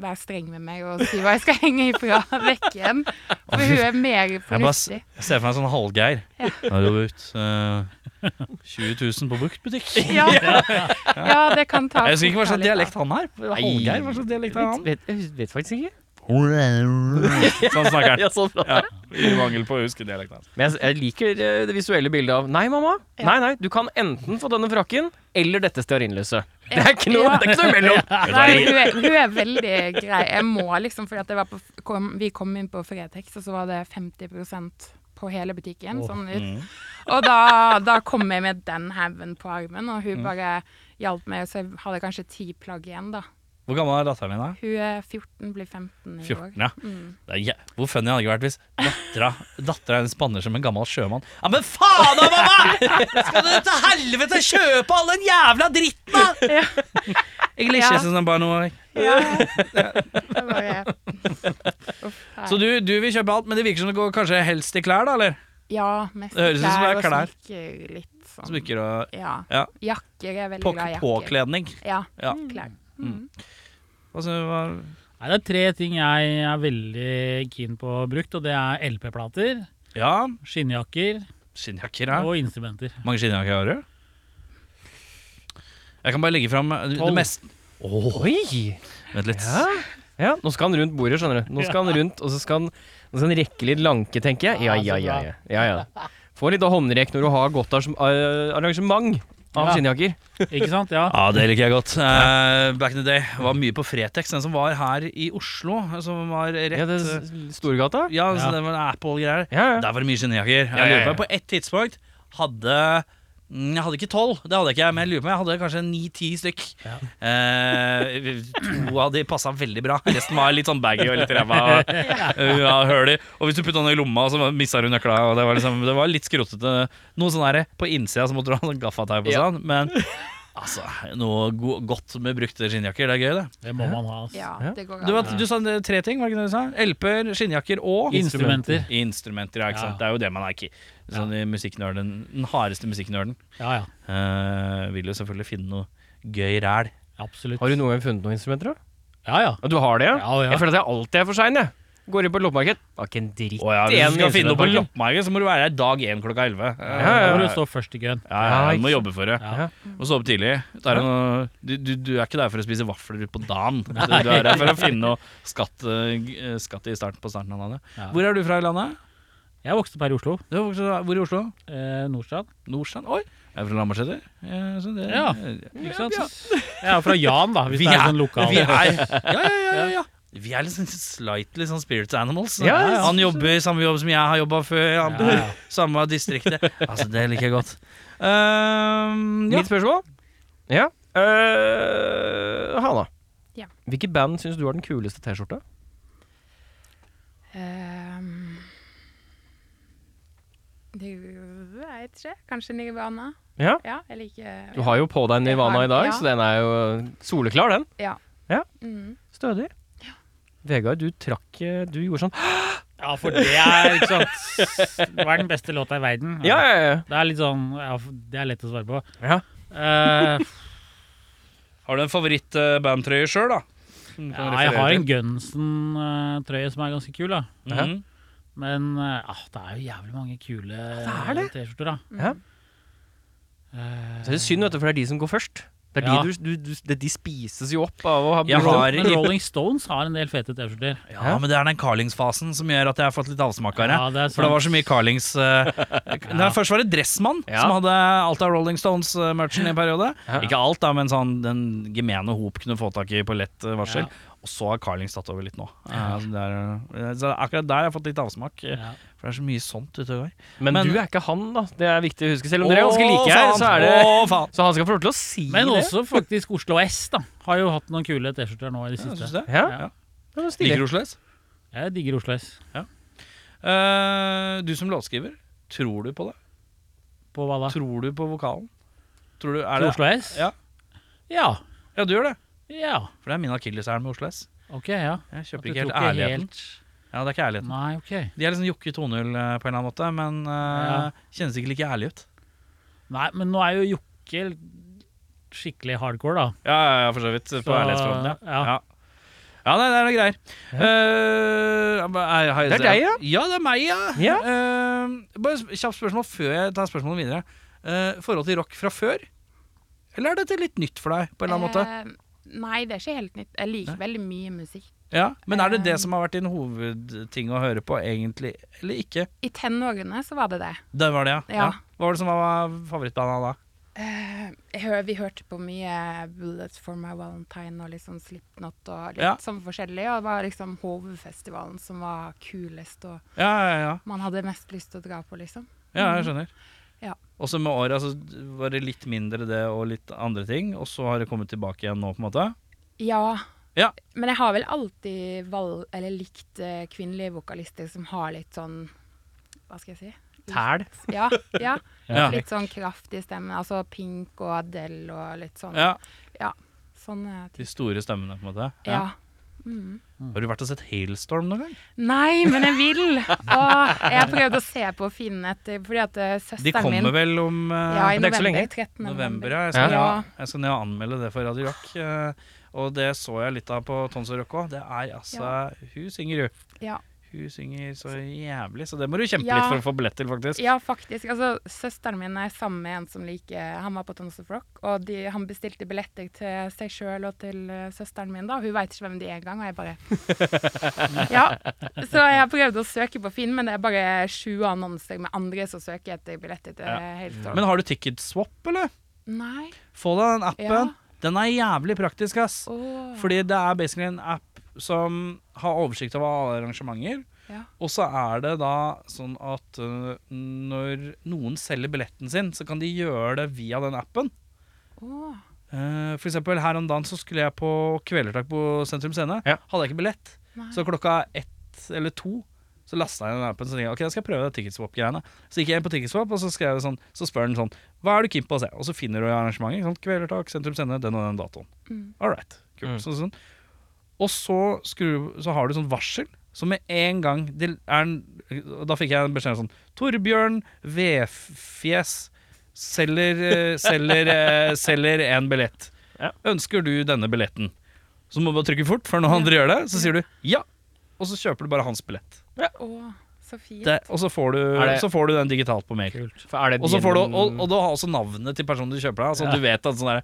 [SPEAKER 4] være streng med meg og si hva jeg skal henge ifra *laughs* vekk igjen. For hun er mer
[SPEAKER 1] Jeg, bare, s-
[SPEAKER 4] fornuftig.
[SPEAKER 1] jeg ser for meg en sånn halvgeir. Ja. Har du brukt eh, 20 000 på bruktbutikk?
[SPEAKER 4] *laughs* Ja. ja, det kan ta
[SPEAKER 1] Jeg husker ikke hva slags
[SPEAKER 4] litt av.
[SPEAKER 1] dialekt han har. Halvgeir, hva slags dialekt har han?
[SPEAKER 2] Vet, vet, vet faktisk ikke.
[SPEAKER 1] Sånn snakker han.
[SPEAKER 2] Ja, sånn bra.
[SPEAKER 1] Ja. I mangel på å huske dialekten hans.
[SPEAKER 2] Men jeg, jeg liker eh, det visuelle bildet av Nei, mamma.
[SPEAKER 4] Ja.
[SPEAKER 2] Nei, nei, du kan enten få denne frakken eller dette stearinløset. Det er ikke noe,
[SPEAKER 4] Ja.
[SPEAKER 2] det er ikke noe imellom.
[SPEAKER 4] Nei, hun er, hun er veldig grei. Jeg må liksom, fordi at det var på, kom, vi kom inn på Fretex, og så var det 50 på hele butikken. sånn ut.
[SPEAKER 1] mm.
[SPEAKER 4] Og da, da kom jeg med den haugen på armen, og
[SPEAKER 1] Mm.
[SPEAKER 4] hun bare hjalp meg. Så jeg hadde kanskje ti plagg igjen, da.
[SPEAKER 1] Hvor gammel er datteren min, da?
[SPEAKER 4] Hun er 14, blir 15 i
[SPEAKER 1] 14,
[SPEAKER 4] år.
[SPEAKER 1] ja.
[SPEAKER 4] Mm.
[SPEAKER 1] Det er, jæ- hvor funny hadde det ikke vært hvis dattera dattera hennes spanner som en gammel sjømann. Ja, men faen da, mamma! Skal du til helvete kjøpe all den jævla dritten, da?! Jeg liker
[SPEAKER 4] Ja.
[SPEAKER 1] ikke sånn bare noe
[SPEAKER 4] Ja.
[SPEAKER 1] *laughs*
[SPEAKER 4] Det var jeg. Uff, nei.
[SPEAKER 1] Så du, du vil kjøpe alt, men det virker som det går kanskje helst i klær, da, eller?
[SPEAKER 4] ja, mest
[SPEAKER 1] Det høres ut som det er
[SPEAKER 4] klær og
[SPEAKER 1] klær.
[SPEAKER 4] smykker. Litt sånn.
[SPEAKER 1] Smykker og
[SPEAKER 4] Ja.
[SPEAKER 1] Ja.
[SPEAKER 4] Jakker jeg er veldig
[SPEAKER 1] På,
[SPEAKER 4] glad i. Jakker.
[SPEAKER 1] påkledning.
[SPEAKER 4] Ja.
[SPEAKER 1] Ja.
[SPEAKER 4] Klær.
[SPEAKER 1] Altså, hva,
[SPEAKER 3] Nei, det er tre ting jeg er veldig keen på brukt, og det er LP-plater,
[SPEAKER 1] ja,
[SPEAKER 3] skinnjakker
[SPEAKER 1] skinnjakker, ja.
[SPEAKER 3] og instrumenter.
[SPEAKER 1] mange skinnjakker har du? Jeg kan bare legge fram eh, det
[SPEAKER 2] Tolv.
[SPEAKER 1] meste
[SPEAKER 2] Oi!
[SPEAKER 1] Vent litt.
[SPEAKER 2] Ja. ja. Nå skal han rundt bordet, skjønner du. Nå skal han rundt, og så skal han, nå skal han rekke litt lanke, tenker jeg. Ja, ja, ja. ja, ja, ja. Få litt av håndrekk når du har godt arrangem- eh, arrangement av
[SPEAKER 3] Ja.
[SPEAKER 2] skinnjakker.
[SPEAKER 3] Ikke sant? Ja.
[SPEAKER 1] Ja, det liker jeg godt. Eh, back in the day var mye på Fretex. Den som var her i Oslo, eh, som var rett eh,
[SPEAKER 2] Ja, det er s- Storgata.
[SPEAKER 1] Ja,
[SPEAKER 3] Ja.
[SPEAKER 1] så det var Apple-greier.
[SPEAKER 2] Ja, ja.
[SPEAKER 1] Der var det mye skinnjakker. Jeg
[SPEAKER 2] Ja, ja,
[SPEAKER 1] lurer
[SPEAKER 2] ja.
[SPEAKER 1] på på ett tidspunkt hadde mm, jeg hadde ikke tolv, det hadde jeg ikke, men jeg lurer på, jeg hadde kanskje ni-ti stykk. Eh, to av de passa veldig bra. Resten var litt sånn baggy
[SPEAKER 2] *laughs*
[SPEAKER 1] og litt ræva. og, eh, Ja, høl i. Og hvis du putta den i lomma, så mista du nøkla. Og det, var liksom, det var litt skrotete. Noe sånn der, På innsida så måtte du ha sånn gaffateip og
[SPEAKER 2] Ja.
[SPEAKER 1] sånn. Men altså, noe go godt med brukte skinnjakker, det er gøy, det.
[SPEAKER 3] Det må man ha. Altså.
[SPEAKER 4] Ja,
[SPEAKER 2] Ja.
[SPEAKER 4] det går
[SPEAKER 1] Du,
[SPEAKER 4] an.
[SPEAKER 1] var- du sa tre ting, var det ikke det du sa? LP-er, skinnjakker og
[SPEAKER 3] Instrumenter.
[SPEAKER 1] Instrumenter, ja, ikke sant? Det er
[SPEAKER 3] Ja.
[SPEAKER 1] jo det man er ikke sånn, i musikknørden, Den hardeste musikknørden
[SPEAKER 3] Ja, ja.
[SPEAKER 1] eh, vil jo selvfølgelig finne noe gøy ræl.
[SPEAKER 3] Absolutt.
[SPEAKER 2] Har du noen gang funnet noen instrumenter, da?
[SPEAKER 3] Ja, ja.
[SPEAKER 2] Ja, du har det, ja?
[SPEAKER 3] Ja, ja.
[SPEAKER 2] Jeg føler at jeg alltid er for sein, jeg. Går inn på et loppemarked. Var ikke en dritt.
[SPEAKER 1] Å ja, hvis
[SPEAKER 2] en
[SPEAKER 1] du skal finne noe på
[SPEAKER 2] instrumentpakke.
[SPEAKER 1] loppemarkedet, så må du være her dag én klokka elleve.
[SPEAKER 2] Ja,
[SPEAKER 3] Da
[SPEAKER 2] ja,
[SPEAKER 3] må
[SPEAKER 2] ja.
[SPEAKER 3] du stå først i køen.
[SPEAKER 1] Ja, ja, du må
[SPEAKER 2] Ja,
[SPEAKER 1] jobbe for det.
[SPEAKER 3] Ja.
[SPEAKER 1] Og stå opp tidlig. Det er noe, du, du, du er ikke der for å spise vafler på dagen. Du, du er der for å finne noe skatt, eh, g- eh, skatt i starten på starten av landet.
[SPEAKER 3] Ja.
[SPEAKER 1] Hvor er du fra i landet?
[SPEAKER 3] Jeg vokste opp her i Oslo.
[SPEAKER 1] Du er vokst- Hvor i Oslo?
[SPEAKER 3] Eh, Nordstrand.
[SPEAKER 1] Nordstrand? Oi! Jeg er fra Lambertseter. Eh, så det-
[SPEAKER 3] Ja. Ikke sant? Jeg er fra Jan, da, hvis
[SPEAKER 1] Vi
[SPEAKER 3] det er
[SPEAKER 1] er-
[SPEAKER 3] sånn lokal. *laughs*
[SPEAKER 1] Vi er, ja, ja, ja, ja, ja. Vi er liksom slightly sånn spirits animals.
[SPEAKER 2] Ja, ja.
[SPEAKER 1] Han jobber i samme jobb som jeg har jobba før. Han bor
[SPEAKER 3] Ja,
[SPEAKER 1] i
[SPEAKER 3] ja.
[SPEAKER 1] Samme distriktet. Altså, det liker jeg godt. Ehm, ja.
[SPEAKER 2] Mitt spørsmål? Ja. Uh, Hanna.
[SPEAKER 4] Ja.
[SPEAKER 2] Hvilke band syns du har den kuleste T-skjorta?
[SPEAKER 4] Ehm, det jeg vet ikke. Kanskje Nirvana.
[SPEAKER 2] Ja.
[SPEAKER 4] Ja, jeg liker
[SPEAKER 2] Du har jo på deg Nirvana i dag,
[SPEAKER 4] Ja.
[SPEAKER 2] så den er jo soleklar, den.
[SPEAKER 4] mm.
[SPEAKER 2] Stødig. Vegard, du trakk eh, Du gjorde sånn
[SPEAKER 3] Ja, for det er ikke sant Hva er den beste låta i verden?
[SPEAKER 2] Ja, ja, ja.
[SPEAKER 3] Det er litt sånn ja, Det er lett å svare på.
[SPEAKER 2] ja.
[SPEAKER 3] Eh,
[SPEAKER 1] Har du en favorittbandtrøye sjøl, da?
[SPEAKER 3] Ja, jeg har en Gunsen-trøye som er ganske kul, da.
[SPEAKER 1] Mhm.
[SPEAKER 3] Men eh, ah, det er jo jævlig mange kule
[SPEAKER 2] Ja, det er det.
[SPEAKER 3] T-skjorter, da.
[SPEAKER 2] Ja.
[SPEAKER 3] Eh,
[SPEAKER 2] Så er det synd, vet du, for det er de som går først. Det er
[SPEAKER 3] Ja.
[SPEAKER 2] de, du, du, du, det, de spises jo opp av å ha
[SPEAKER 1] Jeg har-
[SPEAKER 3] Men Rolling Stones har en del fete T-skjorter.
[SPEAKER 1] Ja, men det er den Carlings-fasen som gjør at jeg har fått litt avsmak av det.
[SPEAKER 3] Ja, det er
[SPEAKER 1] For det
[SPEAKER 3] sant.
[SPEAKER 1] var så mye Carlings
[SPEAKER 2] *laughs*
[SPEAKER 1] eh, Nei, Først var det Dressmann
[SPEAKER 2] Ja.
[SPEAKER 1] som hadde alt av Rolling Stones-merchen i en periode.
[SPEAKER 2] Ja.
[SPEAKER 1] Ikke alt, da, men sånn den gemene hop kunne få tak i på lett eh, varsel.
[SPEAKER 3] Ja.
[SPEAKER 1] Og så har Carlings tatt over litt nå. Eh, så det er, eh, så akkurat der har jeg fått litt avsmak. eh,
[SPEAKER 3] Ja.
[SPEAKER 1] For det er så mye sånt ute og går.
[SPEAKER 2] Men,
[SPEAKER 1] Men-
[SPEAKER 2] du er ikke han, da. Det er viktig å huske. Selv om dere er ganske like her, så er det
[SPEAKER 1] Å, faen!
[SPEAKER 2] Så han skal få lov til å si
[SPEAKER 3] Men
[SPEAKER 2] det.
[SPEAKER 3] også faktisk Oslo S da har jo hatt noen kule T-skjorter nå i det
[SPEAKER 1] Ja,
[SPEAKER 3] siste.
[SPEAKER 1] synes du det?
[SPEAKER 2] Ja.
[SPEAKER 1] Ja.
[SPEAKER 2] Det var stilig.
[SPEAKER 1] Liker du Oslo S?
[SPEAKER 3] Jeg digger Oslo S.
[SPEAKER 1] Eh, du som låtskriver, tror du på det?
[SPEAKER 3] På hva da?
[SPEAKER 1] Tror du på vokalen? Tror du, er
[SPEAKER 3] Til
[SPEAKER 1] det?
[SPEAKER 3] Oslo S?
[SPEAKER 1] Ja.
[SPEAKER 3] Ja.
[SPEAKER 1] Ja, du gjør det.
[SPEAKER 3] Ja.
[SPEAKER 1] For det er min akilleshæl med Oslo S.
[SPEAKER 3] Ok, ja.
[SPEAKER 1] Jeg
[SPEAKER 3] At
[SPEAKER 1] kjøper
[SPEAKER 3] du
[SPEAKER 1] ikke helt
[SPEAKER 3] tror ikke
[SPEAKER 1] ærligheten. Ja, det er ikke ærligheten.
[SPEAKER 3] Nei, ok.
[SPEAKER 1] De er liksom Jokke 2.0 eh, på en eller annen måte, men eh, kjennes ikke like ærlig ut.
[SPEAKER 3] Nei, men nå er jo Jokke skikkelig hardcore, da.
[SPEAKER 1] Ja, ja, ja for så vidt. På
[SPEAKER 3] Så,
[SPEAKER 1] ærlighetsfronten, ja.
[SPEAKER 3] ja.
[SPEAKER 1] ja. Ja, nei, det er noe greier. Eh, er- har jeg-
[SPEAKER 2] Det er deg, ja.
[SPEAKER 1] Ja, det er meg, ja.
[SPEAKER 2] Ja.
[SPEAKER 1] Eh, bare sp- kjapt spørsmål før jeg tar spørsmålet videre. Eh, forhold til rock fra før? Eller er dette litt nytt for deg? på en eller annen måte?
[SPEAKER 4] Ehm, Nei, det er ikke helt nytt. Jeg liker veldig mye musikk.
[SPEAKER 1] Ja, Men er det
[SPEAKER 4] eh,
[SPEAKER 1] det som har vært din hovedting å høre på, egentlig? Eller ikke?
[SPEAKER 4] I tenårene så var det det.
[SPEAKER 1] Det var det, ja.
[SPEAKER 4] Ja.
[SPEAKER 1] Hva var det som var favorittbandet da?
[SPEAKER 4] Eh, jeg hører, vi hørte på mye 'Bullets for my Valentine' og litt sånn Slipknot og litt
[SPEAKER 1] Ja.
[SPEAKER 4] sånn forskjellig. Og det var liksom Hovefestivalen som var kulest, og
[SPEAKER 1] Ja, ja, ja.
[SPEAKER 4] man hadde mest lyst til å dra på, liksom.
[SPEAKER 1] Ja, jeg skjønner.
[SPEAKER 4] Ja.
[SPEAKER 1] Også med åra så var det litt mindre det og litt andre ting, og så har det kommet tilbake igjen nå, på en måte.
[SPEAKER 4] Ja.
[SPEAKER 1] Ja.
[SPEAKER 4] Men jeg har vel alltid val eller likt eh, kvinnelige vokalister som har litt sånn Hva skal jeg si?
[SPEAKER 2] Tæl.
[SPEAKER 4] Ja. ja.
[SPEAKER 1] *laughs* Ja.
[SPEAKER 4] Litt sånn kraftig stemme. Altså Pink og Adele og litt sånn.
[SPEAKER 1] Ja,
[SPEAKER 4] Sånne
[SPEAKER 1] De
[SPEAKER 4] ting.
[SPEAKER 1] store stemmene, på en måte.
[SPEAKER 4] Ja. Mm.
[SPEAKER 1] Har du vært og sett Hailstorm noen gang?
[SPEAKER 4] Nei, men jeg vil! Og jeg prøvde å se på Finn etter, fordi at eh,
[SPEAKER 1] De
[SPEAKER 4] søsteren min
[SPEAKER 1] kommer vel om eh,
[SPEAKER 4] Ja, i
[SPEAKER 2] men det er ikke så
[SPEAKER 4] november.
[SPEAKER 2] lenge.
[SPEAKER 4] 13.
[SPEAKER 1] november, ja. Jeg skal,
[SPEAKER 4] Ja.
[SPEAKER 1] ned- jeg skal ned og anmelde det for Radio Rock. eh, og det så jeg litt av på Tons og Rock òg. Det er altså Hun synger, hun.
[SPEAKER 4] Ja.
[SPEAKER 1] Hun synger så jævlig, så det må du kjempe
[SPEAKER 4] Ja.
[SPEAKER 1] litt for å få billett til, faktisk.
[SPEAKER 4] Ja, faktisk. Altså, søsteren min er sammen med en som liker Han var på Tons of Rock, og de, han bestilte billetter til seg sjøl og til eh, søsteren min, da. Hun veit ikke hvem de er engang, og jeg bare
[SPEAKER 1] *laughs*
[SPEAKER 4] Ja. Så jeg har prøvd å søke på Finn, men det er bare sju annonser med andre som søker etter billetter til
[SPEAKER 1] Ja.
[SPEAKER 4] Hailstorm.
[SPEAKER 1] Men har du ticket swap, eller?
[SPEAKER 4] Nei.
[SPEAKER 1] Få deg den
[SPEAKER 4] Ja.
[SPEAKER 1] appen. Den er jævlig praktisk, ass.
[SPEAKER 4] Åh.
[SPEAKER 1] Fordi det er basically en app som har oversikt over alle arrangementer.
[SPEAKER 4] Ja.
[SPEAKER 1] Og så er det da sånn at øh, når noen selger billetten sin, så kan de gjøre det via den appen.
[SPEAKER 4] Åh.
[SPEAKER 1] Eh, for eksempel her om dagen så skulle jeg på Kvelertak på Sentrum Scene.
[SPEAKER 2] Ja.
[SPEAKER 1] Hadde jeg ikke billett.
[SPEAKER 4] Nei.
[SPEAKER 1] Så klokka ett eller to så lasta jeg den appen. Så tenkte jeg, sånn ok, da skal jeg prøve det Ticketswap-greiene. Så gikk jeg inn på Ticketswap, og så skrev jeg sånn, så spør den sånn Hva er du keen på å se? Og så finner du arrangementet. ikke sant? Kvelertak, Sentrum Scene, den og den datoen.
[SPEAKER 4] Mm.
[SPEAKER 1] All right.
[SPEAKER 2] Mm.
[SPEAKER 1] Kult. Sånn, sånn. Og så, skrur, så har du sånn varsel. Så med en gang det er en, og Da fikk jeg en beskjed sånn Torbjørn Vefjes selger, eh, selger, eh, selger en billett.
[SPEAKER 2] Ja.
[SPEAKER 1] Ønsker du denne billetten? Så må du bare trykke fort før noen andre gjør det. Så sier du ja, og så kjøper du bare hans billett.
[SPEAKER 4] Åh, så fint.
[SPEAKER 1] Det, og så får, du,
[SPEAKER 2] Er det-
[SPEAKER 1] så får du den digitalt på mail.
[SPEAKER 3] Kult.
[SPEAKER 2] For er det
[SPEAKER 1] Og, så får du,
[SPEAKER 2] din-
[SPEAKER 1] og, og du har også navnet til personen du kjøper deg. Så
[SPEAKER 3] Ja.
[SPEAKER 1] du vet at sånn der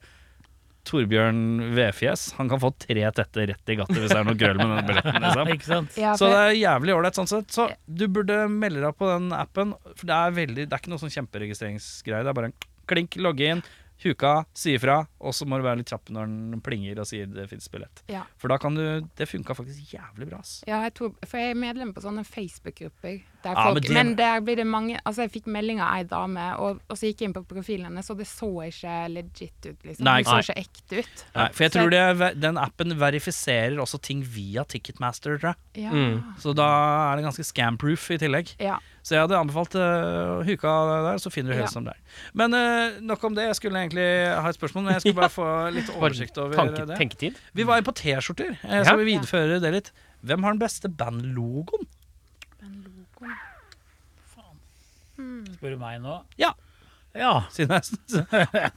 [SPEAKER 1] Torbjørn Vefjes Han kan få tre tette rett i gattet hvis det er noe grøll med den billetten. *laughs* Liksom.
[SPEAKER 3] Ikke sant?
[SPEAKER 4] Ja,
[SPEAKER 1] Så
[SPEAKER 4] for-
[SPEAKER 1] det er jævlig ålreit sånn sett. Så du burde melde deg på den appen. For det er, veldig, det er ikke noe sånn kjemperegistreringsgreie. Det er bare en klink, logge inn, huka, si ifra. Og så må du være litt kjapp når den plinger og sier det fins billett.
[SPEAKER 4] Ja.
[SPEAKER 1] For da kan du Det funka faktisk jævlig bra. Ass.
[SPEAKER 4] Ja, jeg tror, for jeg er medlem på sånne Facebook-grupper. Der
[SPEAKER 1] Ja,
[SPEAKER 4] folk,
[SPEAKER 1] men
[SPEAKER 4] men,
[SPEAKER 1] det-
[SPEAKER 4] der blir det mange Altså, jeg fikk melding av ei dame, og, og så gikk jeg inn på profilen hennes, og det så ikke legit ut, liksom.
[SPEAKER 1] Nei,
[SPEAKER 4] det så
[SPEAKER 1] nei.
[SPEAKER 4] ikke ekte ut.
[SPEAKER 1] Nei, for jeg
[SPEAKER 4] Så
[SPEAKER 1] tror det, den appen verifiserer også ting via Ticketmaster, tror jeg.
[SPEAKER 4] Ja.
[SPEAKER 2] Mm.
[SPEAKER 1] Så da er det ganske scam-proof i tillegg.
[SPEAKER 4] ja.
[SPEAKER 1] Så jeg hadde anbefalt eh, Huka der, så finner du
[SPEAKER 4] Ja.
[SPEAKER 1] helst om der. Men eh, nok om det. Jeg skulle egentlig ha et spørsmål, men jeg skulle bare få litt oversikt over
[SPEAKER 2] Tanke,
[SPEAKER 1] det.
[SPEAKER 2] tenketid?
[SPEAKER 1] Vi var jo på T-skjorter. Jeg
[SPEAKER 2] Ja.
[SPEAKER 1] skal vi videreføre det litt. Hvem har den beste bandlogoen? *laughs*
[SPEAKER 4] Men logoen
[SPEAKER 3] Spør du meg nå?
[SPEAKER 1] Ja.
[SPEAKER 3] Ja.
[SPEAKER 1] Siden jeg s- s-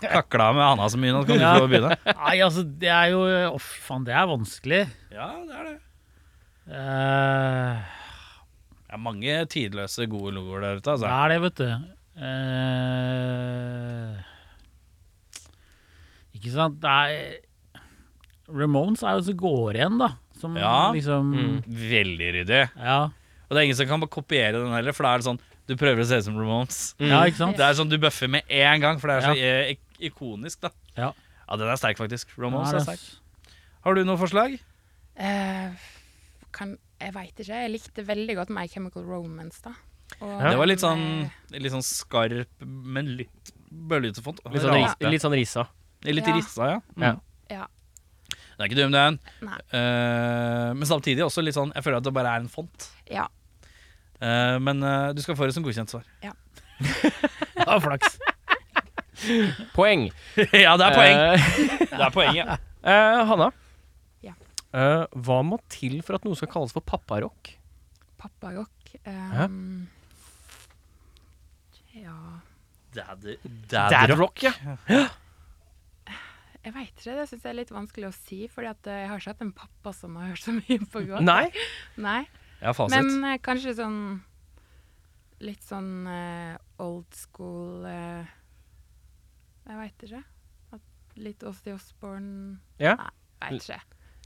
[SPEAKER 1] kakla med Anna så mye nå, kan du
[SPEAKER 3] Ja.
[SPEAKER 1] få begynne.
[SPEAKER 3] Nei, altså, det er jo Å, fy faen, det er vanskelig.
[SPEAKER 1] Ja, det er det.
[SPEAKER 3] Eh,
[SPEAKER 1] Det er mange tidløse, gode logoer der ute,
[SPEAKER 3] det
[SPEAKER 1] altså.
[SPEAKER 3] er det, vet du. Eh, ikke sant? Det er Ramones er jo så går igjen, da. Som
[SPEAKER 1] Ja. Mm.
[SPEAKER 3] liksom
[SPEAKER 1] Veldig ryddig.
[SPEAKER 3] ja.
[SPEAKER 1] Og det er ingen som kan bare kopiere den heller, for da er det sånn Du prøver å se ut som Ramones.
[SPEAKER 3] ja, ikke sant?
[SPEAKER 1] Det er sånn du bøffer med en gang, for det er så eh, ik- ikonisk, da.
[SPEAKER 3] Ja.
[SPEAKER 1] Ja, den er sterk, faktisk. Ramones altså.
[SPEAKER 3] Ja,
[SPEAKER 1] er
[SPEAKER 3] det-
[SPEAKER 1] sterk. Har du noe forslag?
[SPEAKER 4] Eh, kan, jeg veit ikke. Jeg likte veldig godt My Chemical Romance, da. Og
[SPEAKER 1] Det var litt
[SPEAKER 4] den,
[SPEAKER 1] sånn,
[SPEAKER 4] eh,
[SPEAKER 1] litt sånn skarp, men litt bøllete font.
[SPEAKER 2] Litt sånn,
[SPEAKER 1] Rart.
[SPEAKER 2] ris, litt sånn rissa.
[SPEAKER 1] Litt
[SPEAKER 4] Ja.
[SPEAKER 1] rissa, ja. Mm.
[SPEAKER 2] Ja.
[SPEAKER 4] Ja.
[SPEAKER 1] Det er ikke dum, den.
[SPEAKER 4] Nei.
[SPEAKER 1] Eh, men samtidig også litt sånn Jeg føler at det bare er en font.
[SPEAKER 4] Ja.
[SPEAKER 1] Eh, men eh, du skal få det som godkjent svar.
[SPEAKER 3] Ja, flaks.
[SPEAKER 2] Poeng.
[SPEAKER 1] ja, det er poeng.
[SPEAKER 2] Eh,
[SPEAKER 1] Det er poeng, ja.
[SPEAKER 2] Eh, Hanna.
[SPEAKER 4] Ja.
[SPEAKER 2] Eh, hva må til for at noe skal kalles for papparock?
[SPEAKER 4] Papparock. eh, ja
[SPEAKER 1] Dad,
[SPEAKER 2] rock, ja.
[SPEAKER 4] Jeg veit ikke. Det syns jeg er litt vanskelig å si, fordi at eh, jeg har ikke hatt en pappa som har hørt så mye på rock.
[SPEAKER 2] Nei.
[SPEAKER 4] Nei.
[SPEAKER 1] Ja, fasit.
[SPEAKER 4] Men eh, kanskje sånn Litt sånn eh, old school eh, Jeg veit ikke. At litt Åsti Osborne
[SPEAKER 2] Ja.
[SPEAKER 4] Nei, veit ikke.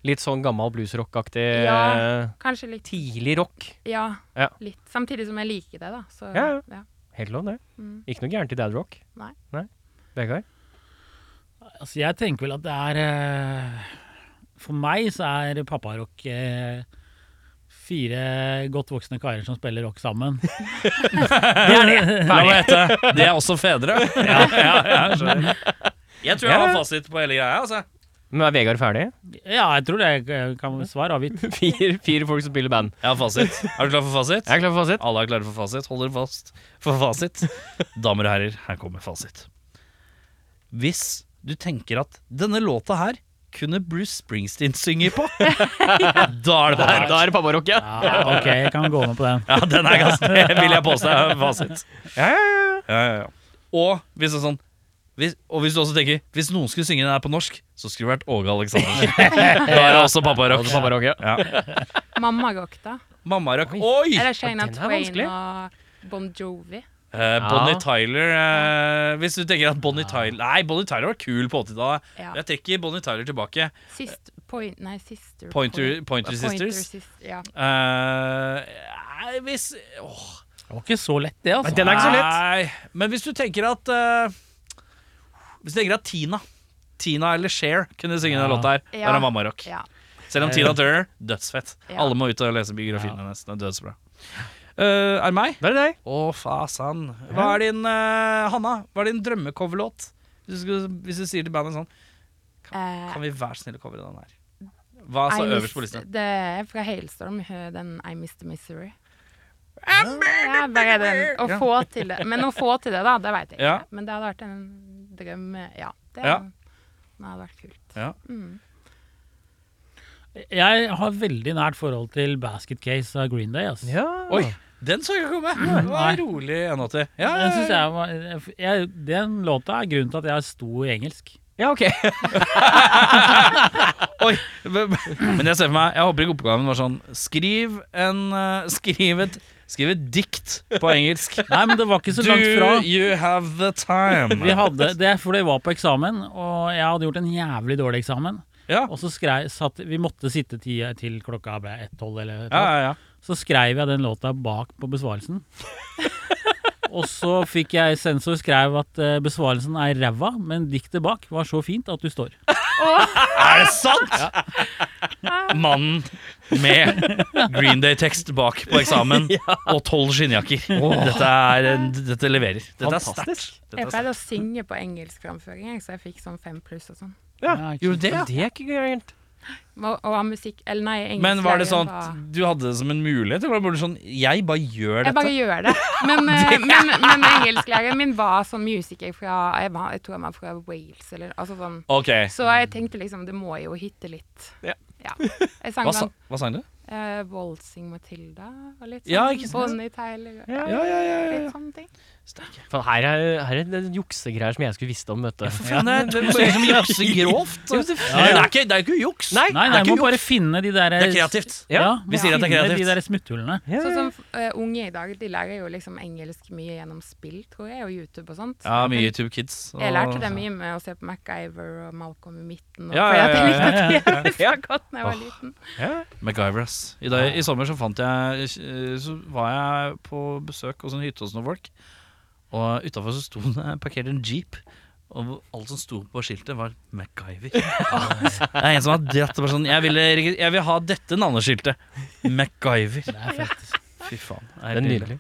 [SPEAKER 2] Litt sånn gammel bluesrock-aktig.
[SPEAKER 4] Ja.
[SPEAKER 2] eh,
[SPEAKER 4] Kanskje litt
[SPEAKER 2] Tidlig rock.
[SPEAKER 4] Ja,
[SPEAKER 2] Ja.
[SPEAKER 4] litt. Samtidig som jeg liker det, da. Så,
[SPEAKER 2] Ja,
[SPEAKER 4] ja.
[SPEAKER 2] Helt lov, det.
[SPEAKER 4] Mm.
[SPEAKER 2] Ikke noe gærent i dad rock.
[SPEAKER 4] Nei.
[SPEAKER 2] Vegard?
[SPEAKER 3] Altså, jeg tenker vel at det er eh, For meg så er papparock eh, fire godt voksne karer som spiller rock sammen.
[SPEAKER 1] *laughs*
[SPEAKER 3] *laughs*
[SPEAKER 1] La meg gjette. Det er også fedre. ja, ja, ja, jeg skjønner. jeg tror jeg
[SPEAKER 2] Ja.
[SPEAKER 1] har fasit på hele greia. Altså.
[SPEAKER 2] Men er Vegard ferdig?
[SPEAKER 3] Ja, jeg tror det eh, kan være svar avgitt.
[SPEAKER 2] *laughs*
[SPEAKER 1] *laughs*
[SPEAKER 2] Fire, fire folk som spiller band.
[SPEAKER 1] Jeg har fasit. Er du klar for fasit?
[SPEAKER 2] Er jeg klar for fasit?
[SPEAKER 1] Alle er klare for fasit. Hold dere fast for fasit. Damer og herrer, her kommer fasit. Hvis du tenker at denne låta her kunne Bruce Springsteen synge *laughs* på, da er det
[SPEAKER 2] Der,
[SPEAKER 1] bare
[SPEAKER 2] da er det papparock, ja.
[SPEAKER 3] Ja, ok, jeg kan gå med på den.
[SPEAKER 1] Ja, den er ganske *laughs* Det vil jeg påstå er fasit.
[SPEAKER 2] Ja, ja, ja.
[SPEAKER 1] Ja, ja, ja. Og hvis det er sånn hvis, og hvis du også tenker Hvis noen skulle synge den her på norsk, så skulle det vært Åge *laughs* Aleksandersen. Da er det også papparock.
[SPEAKER 2] Også papparock, ja.
[SPEAKER 1] Ja.
[SPEAKER 4] Mammarock, da.
[SPEAKER 1] Mammarock. Oi!
[SPEAKER 4] Eller Shana
[SPEAKER 2] den er
[SPEAKER 4] Twain
[SPEAKER 2] vanskelig.
[SPEAKER 4] og Bon Jovi.
[SPEAKER 1] Eh, Bonnie Tyler eh, Hvis du tenker at Bonnie Tyler Nei, Bonnie Tyler var kul på 80-tallet.
[SPEAKER 4] Ja.
[SPEAKER 1] Jeg trekker Bonnie Tyler tilbake.
[SPEAKER 4] Sist, point, nei, sister
[SPEAKER 1] Pointer,
[SPEAKER 4] Point-
[SPEAKER 1] Pointer Sisters.
[SPEAKER 4] Sis- ja.
[SPEAKER 1] Eh, nei, hvis åh,
[SPEAKER 3] Det var ikke så lett, det, altså.
[SPEAKER 2] Men den er ikke så lett.
[SPEAKER 1] Nei, men hvis du tenker at eh, Hvis du tenker at Tina Tina eller Cher kunne synge
[SPEAKER 3] Ja.
[SPEAKER 1] den låta her,
[SPEAKER 4] Ja.
[SPEAKER 1] da er det mammarock.
[SPEAKER 4] ja.
[SPEAKER 1] Selv om Tina Turner dødsfett.
[SPEAKER 4] Ja.
[SPEAKER 1] Alle må ut og lese biografien
[SPEAKER 3] Ja.
[SPEAKER 1] hennes. Den er dødsbra. Eh, er det meg?
[SPEAKER 2] Da er det deg.
[SPEAKER 1] Å, fasan. Hva er din eh, Hanna, hva er din drømmecoverlåt? Hvis, du skulle- hvis du sier til bandet sånn
[SPEAKER 4] Eh,
[SPEAKER 1] Kan vi være så snille å covre den her? Hva
[SPEAKER 4] I
[SPEAKER 1] står Altså, øverst
[SPEAKER 4] miss-
[SPEAKER 1] på listen?
[SPEAKER 4] Det er fra Hailstorm, hø- den I Miss the Misery. Ja, bare den. Å
[SPEAKER 1] Ja.
[SPEAKER 4] få til det. Men å få til det, da, det veit jeg ikke.
[SPEAKER 1] Ja.
[SPEAKER 4] Men det hadde vært en drøm Ja, det,
[SPEAKER 1] Ja.
[SPEAKER 4] det hadde vært kult.
[SPEAKER 1] Ja.
[SPEAKER 4] Mm.
[SPEAKER 3] Jeg har veldig nært forhold til Basket Case av Green Day. Altså.
[SPEAKER 2] Ja.
[SPEAKER 1] Oi, den så jeg ikke komme! Det var rolig 81. Ja,
[SPEAKER 3] Den, synes jeg var, jeg, den låta er grunnen til at jeg sto i engelsk.
[SPEAKER 2] Ja, ok.
[SPEAKER 1] Oi! Men jeg ser for meg Jeg håper ikke oppgaven var sånn Skriv en eh, Skriv et Skriv et dikt på engelsk.
[SPEAKER 3] Nei, men det var ikke *laughs* så
[SPEAKER 1] Do
[SPEAKER 3] langt fra.
[SPEAKER 1] you have the time?
[SPEAKER 3] Vi hadde, det er fordi jeg var på eksamen, og jeg hadde gjort en jævlig dårlig eksamen.
[SPEAKER 1] Ja,
[SPEAKER 3] Og så skrev, satt, Vi måtte sitte ti, til klokka ble 1-12 eller
[SPEAKER 1] ja,
[SPEAKER 3] 12.
[SPEAKER 1] ja. ja.
[SPEAKER 3] Så skrev jeg den låta bak på
[SPEAKER 1] *laughs*
[SPEAKER 3] besvarelsen. og så fikk jeg sensor skrev at eh, besvarelsen er ræva, men diktet bak var så fint at du står.
[SPEAKER 1] Er det sant?! Mannen med Green Day-tekst bak på eksamen
[SPEAKER 3] *laughs*
[SPEAKER 1] og tolv skinnjakker. Dette, er, en- dette leverer. Dette er sterkt.
[SPEAKER 2] Fantastisk.
[SPEAKER 1] Dette
[SPEAKER 4] Jeg
[SPEAKER 1] er
[SPEAKER 4] pleide å synge på engelsk framføring, jeg, så jeg fikk sånn fem pluss og sånn.
[SPEAKER 2] Ja.
[SPEAKER 3] Ja, ikke
[SPEAKER 2] Jo,
[SPEAKER 3] sant.
[SPEAKER 2] det, ja. det er ikke gærent.
[SPEAKER 4] Og, og av musikk Eller nei, engelsk.
[SPEAKER 1] Men var det
[SPEAKER 4] læreren
[SPEAKER 1] sånn at du hadde det som en mulighet? Eller var det sånn Jeg bare gjør
[SPEAKER 4] Jeg bare
[SPEAKER 1] dette.
[SPEAKER 4] gjør det.
[SPEAKER 1] *laughs*
[SPEAKER 4] Men, eh, men, men engelsklæreren min var sånn musiker fra jeg, var, jeg tror han var fra Wales, eller altså sånn.
[SPEAKER 1] Ok.
[SPEAKER 4] Så jeg tenkte liksom, det må jo hitte litt.
[SPEAKER 2] Ja.
[SPEAKER 1] *laughs*
[SPEAKER 4] Jeg sang
[SPEAKER 1] Hva, sa,
[SPEAKER 4] blant
[SPEAKER 1] hva sang du?
[SPEAKER 4] eh, Waltzing Matilda og litt sånn.
[SPEAKER 1] Ja, ikke sant?
[SPEAKER 4] Bonnie Tyler og
[SPEAKER 1] Ja, ja, ja, ja, ja.
[SPEAKER 4] litt sånne ting.
[SPEAKER 1] Steike.
[SPEAKER 2] Faen, her er, her er det juksegreier som jeg skulle visst om, vet du.
[SPEAKER 1] Faen, det er- det ser ut som juksegrovt.
[SPEAKER 2] Ja, det-
[SPEAKER 1] Nei, Det er ikke, det er ikke juks.
[SPEAKER 2] Nei,
[SPEAKER 3] Nei,
[SPEAKER 1] det
[SPEAKER 3] nei,
[SPEAKER 1] er
[SPEAKER 3] må
[SPEAKER 1] ikke
[SPEAKER 3] bare finne de der
[SPEAKER 1] Det er kreativt.
[SPEAKER 2] Ja,
[SPEAKER 1] vi sier at det er
[SPEAKER 3] finne
[SPEAKER 1] kreativt.
[SPEAKER 3] De der smutthullene.
[SPEAKER 2] Ja,
[SPEAKER 4] Sånn
[SPEAKER 2] ja,
[SPEAKER 4] som eh, unge i dag, de lærer jo liksom engelsk mye gjennom spill, tror jeg, og YouTube og sånt.
[SPEAKER 1] Ja, mye YouTube Kids. og-
[SPEAKER 4] Jeg lærte det mye med å se på MacGyver og Malcolm i midten, og
[SPEAKER 1] Ja,
[SPEAKER 4] fordi
[SPEAKER 1] ja,
[SPEAKER 4] at
[SPEAKER 1] ja,
[SPEAKER 4] jeg
[SPEAKER 1] ja,
[SPEAKER 4] likte TV
[SPEAKER 2] ja.
[SPEAKER 4] så godt da jeg var liten.
[SPEAKER 2] ja.
[SPEAKER 1] MacGyver, ass. I, dag, I sommer så fant jeg eh, Så var jeg på besøk hos en hytte hos noen folk, og utafor så sto det parkert en jeep. Og alt som sto på skiltet, var MacGyver. Det er en som har dratt det bare sånn Jeg ville reg- jeg vil ha dette navneskiltet. MacGyver.
[SPEAKER 3] Det er fett.
[SPEAKER 1] Fy faen.
[SPEAKER 2] Det er nydelig.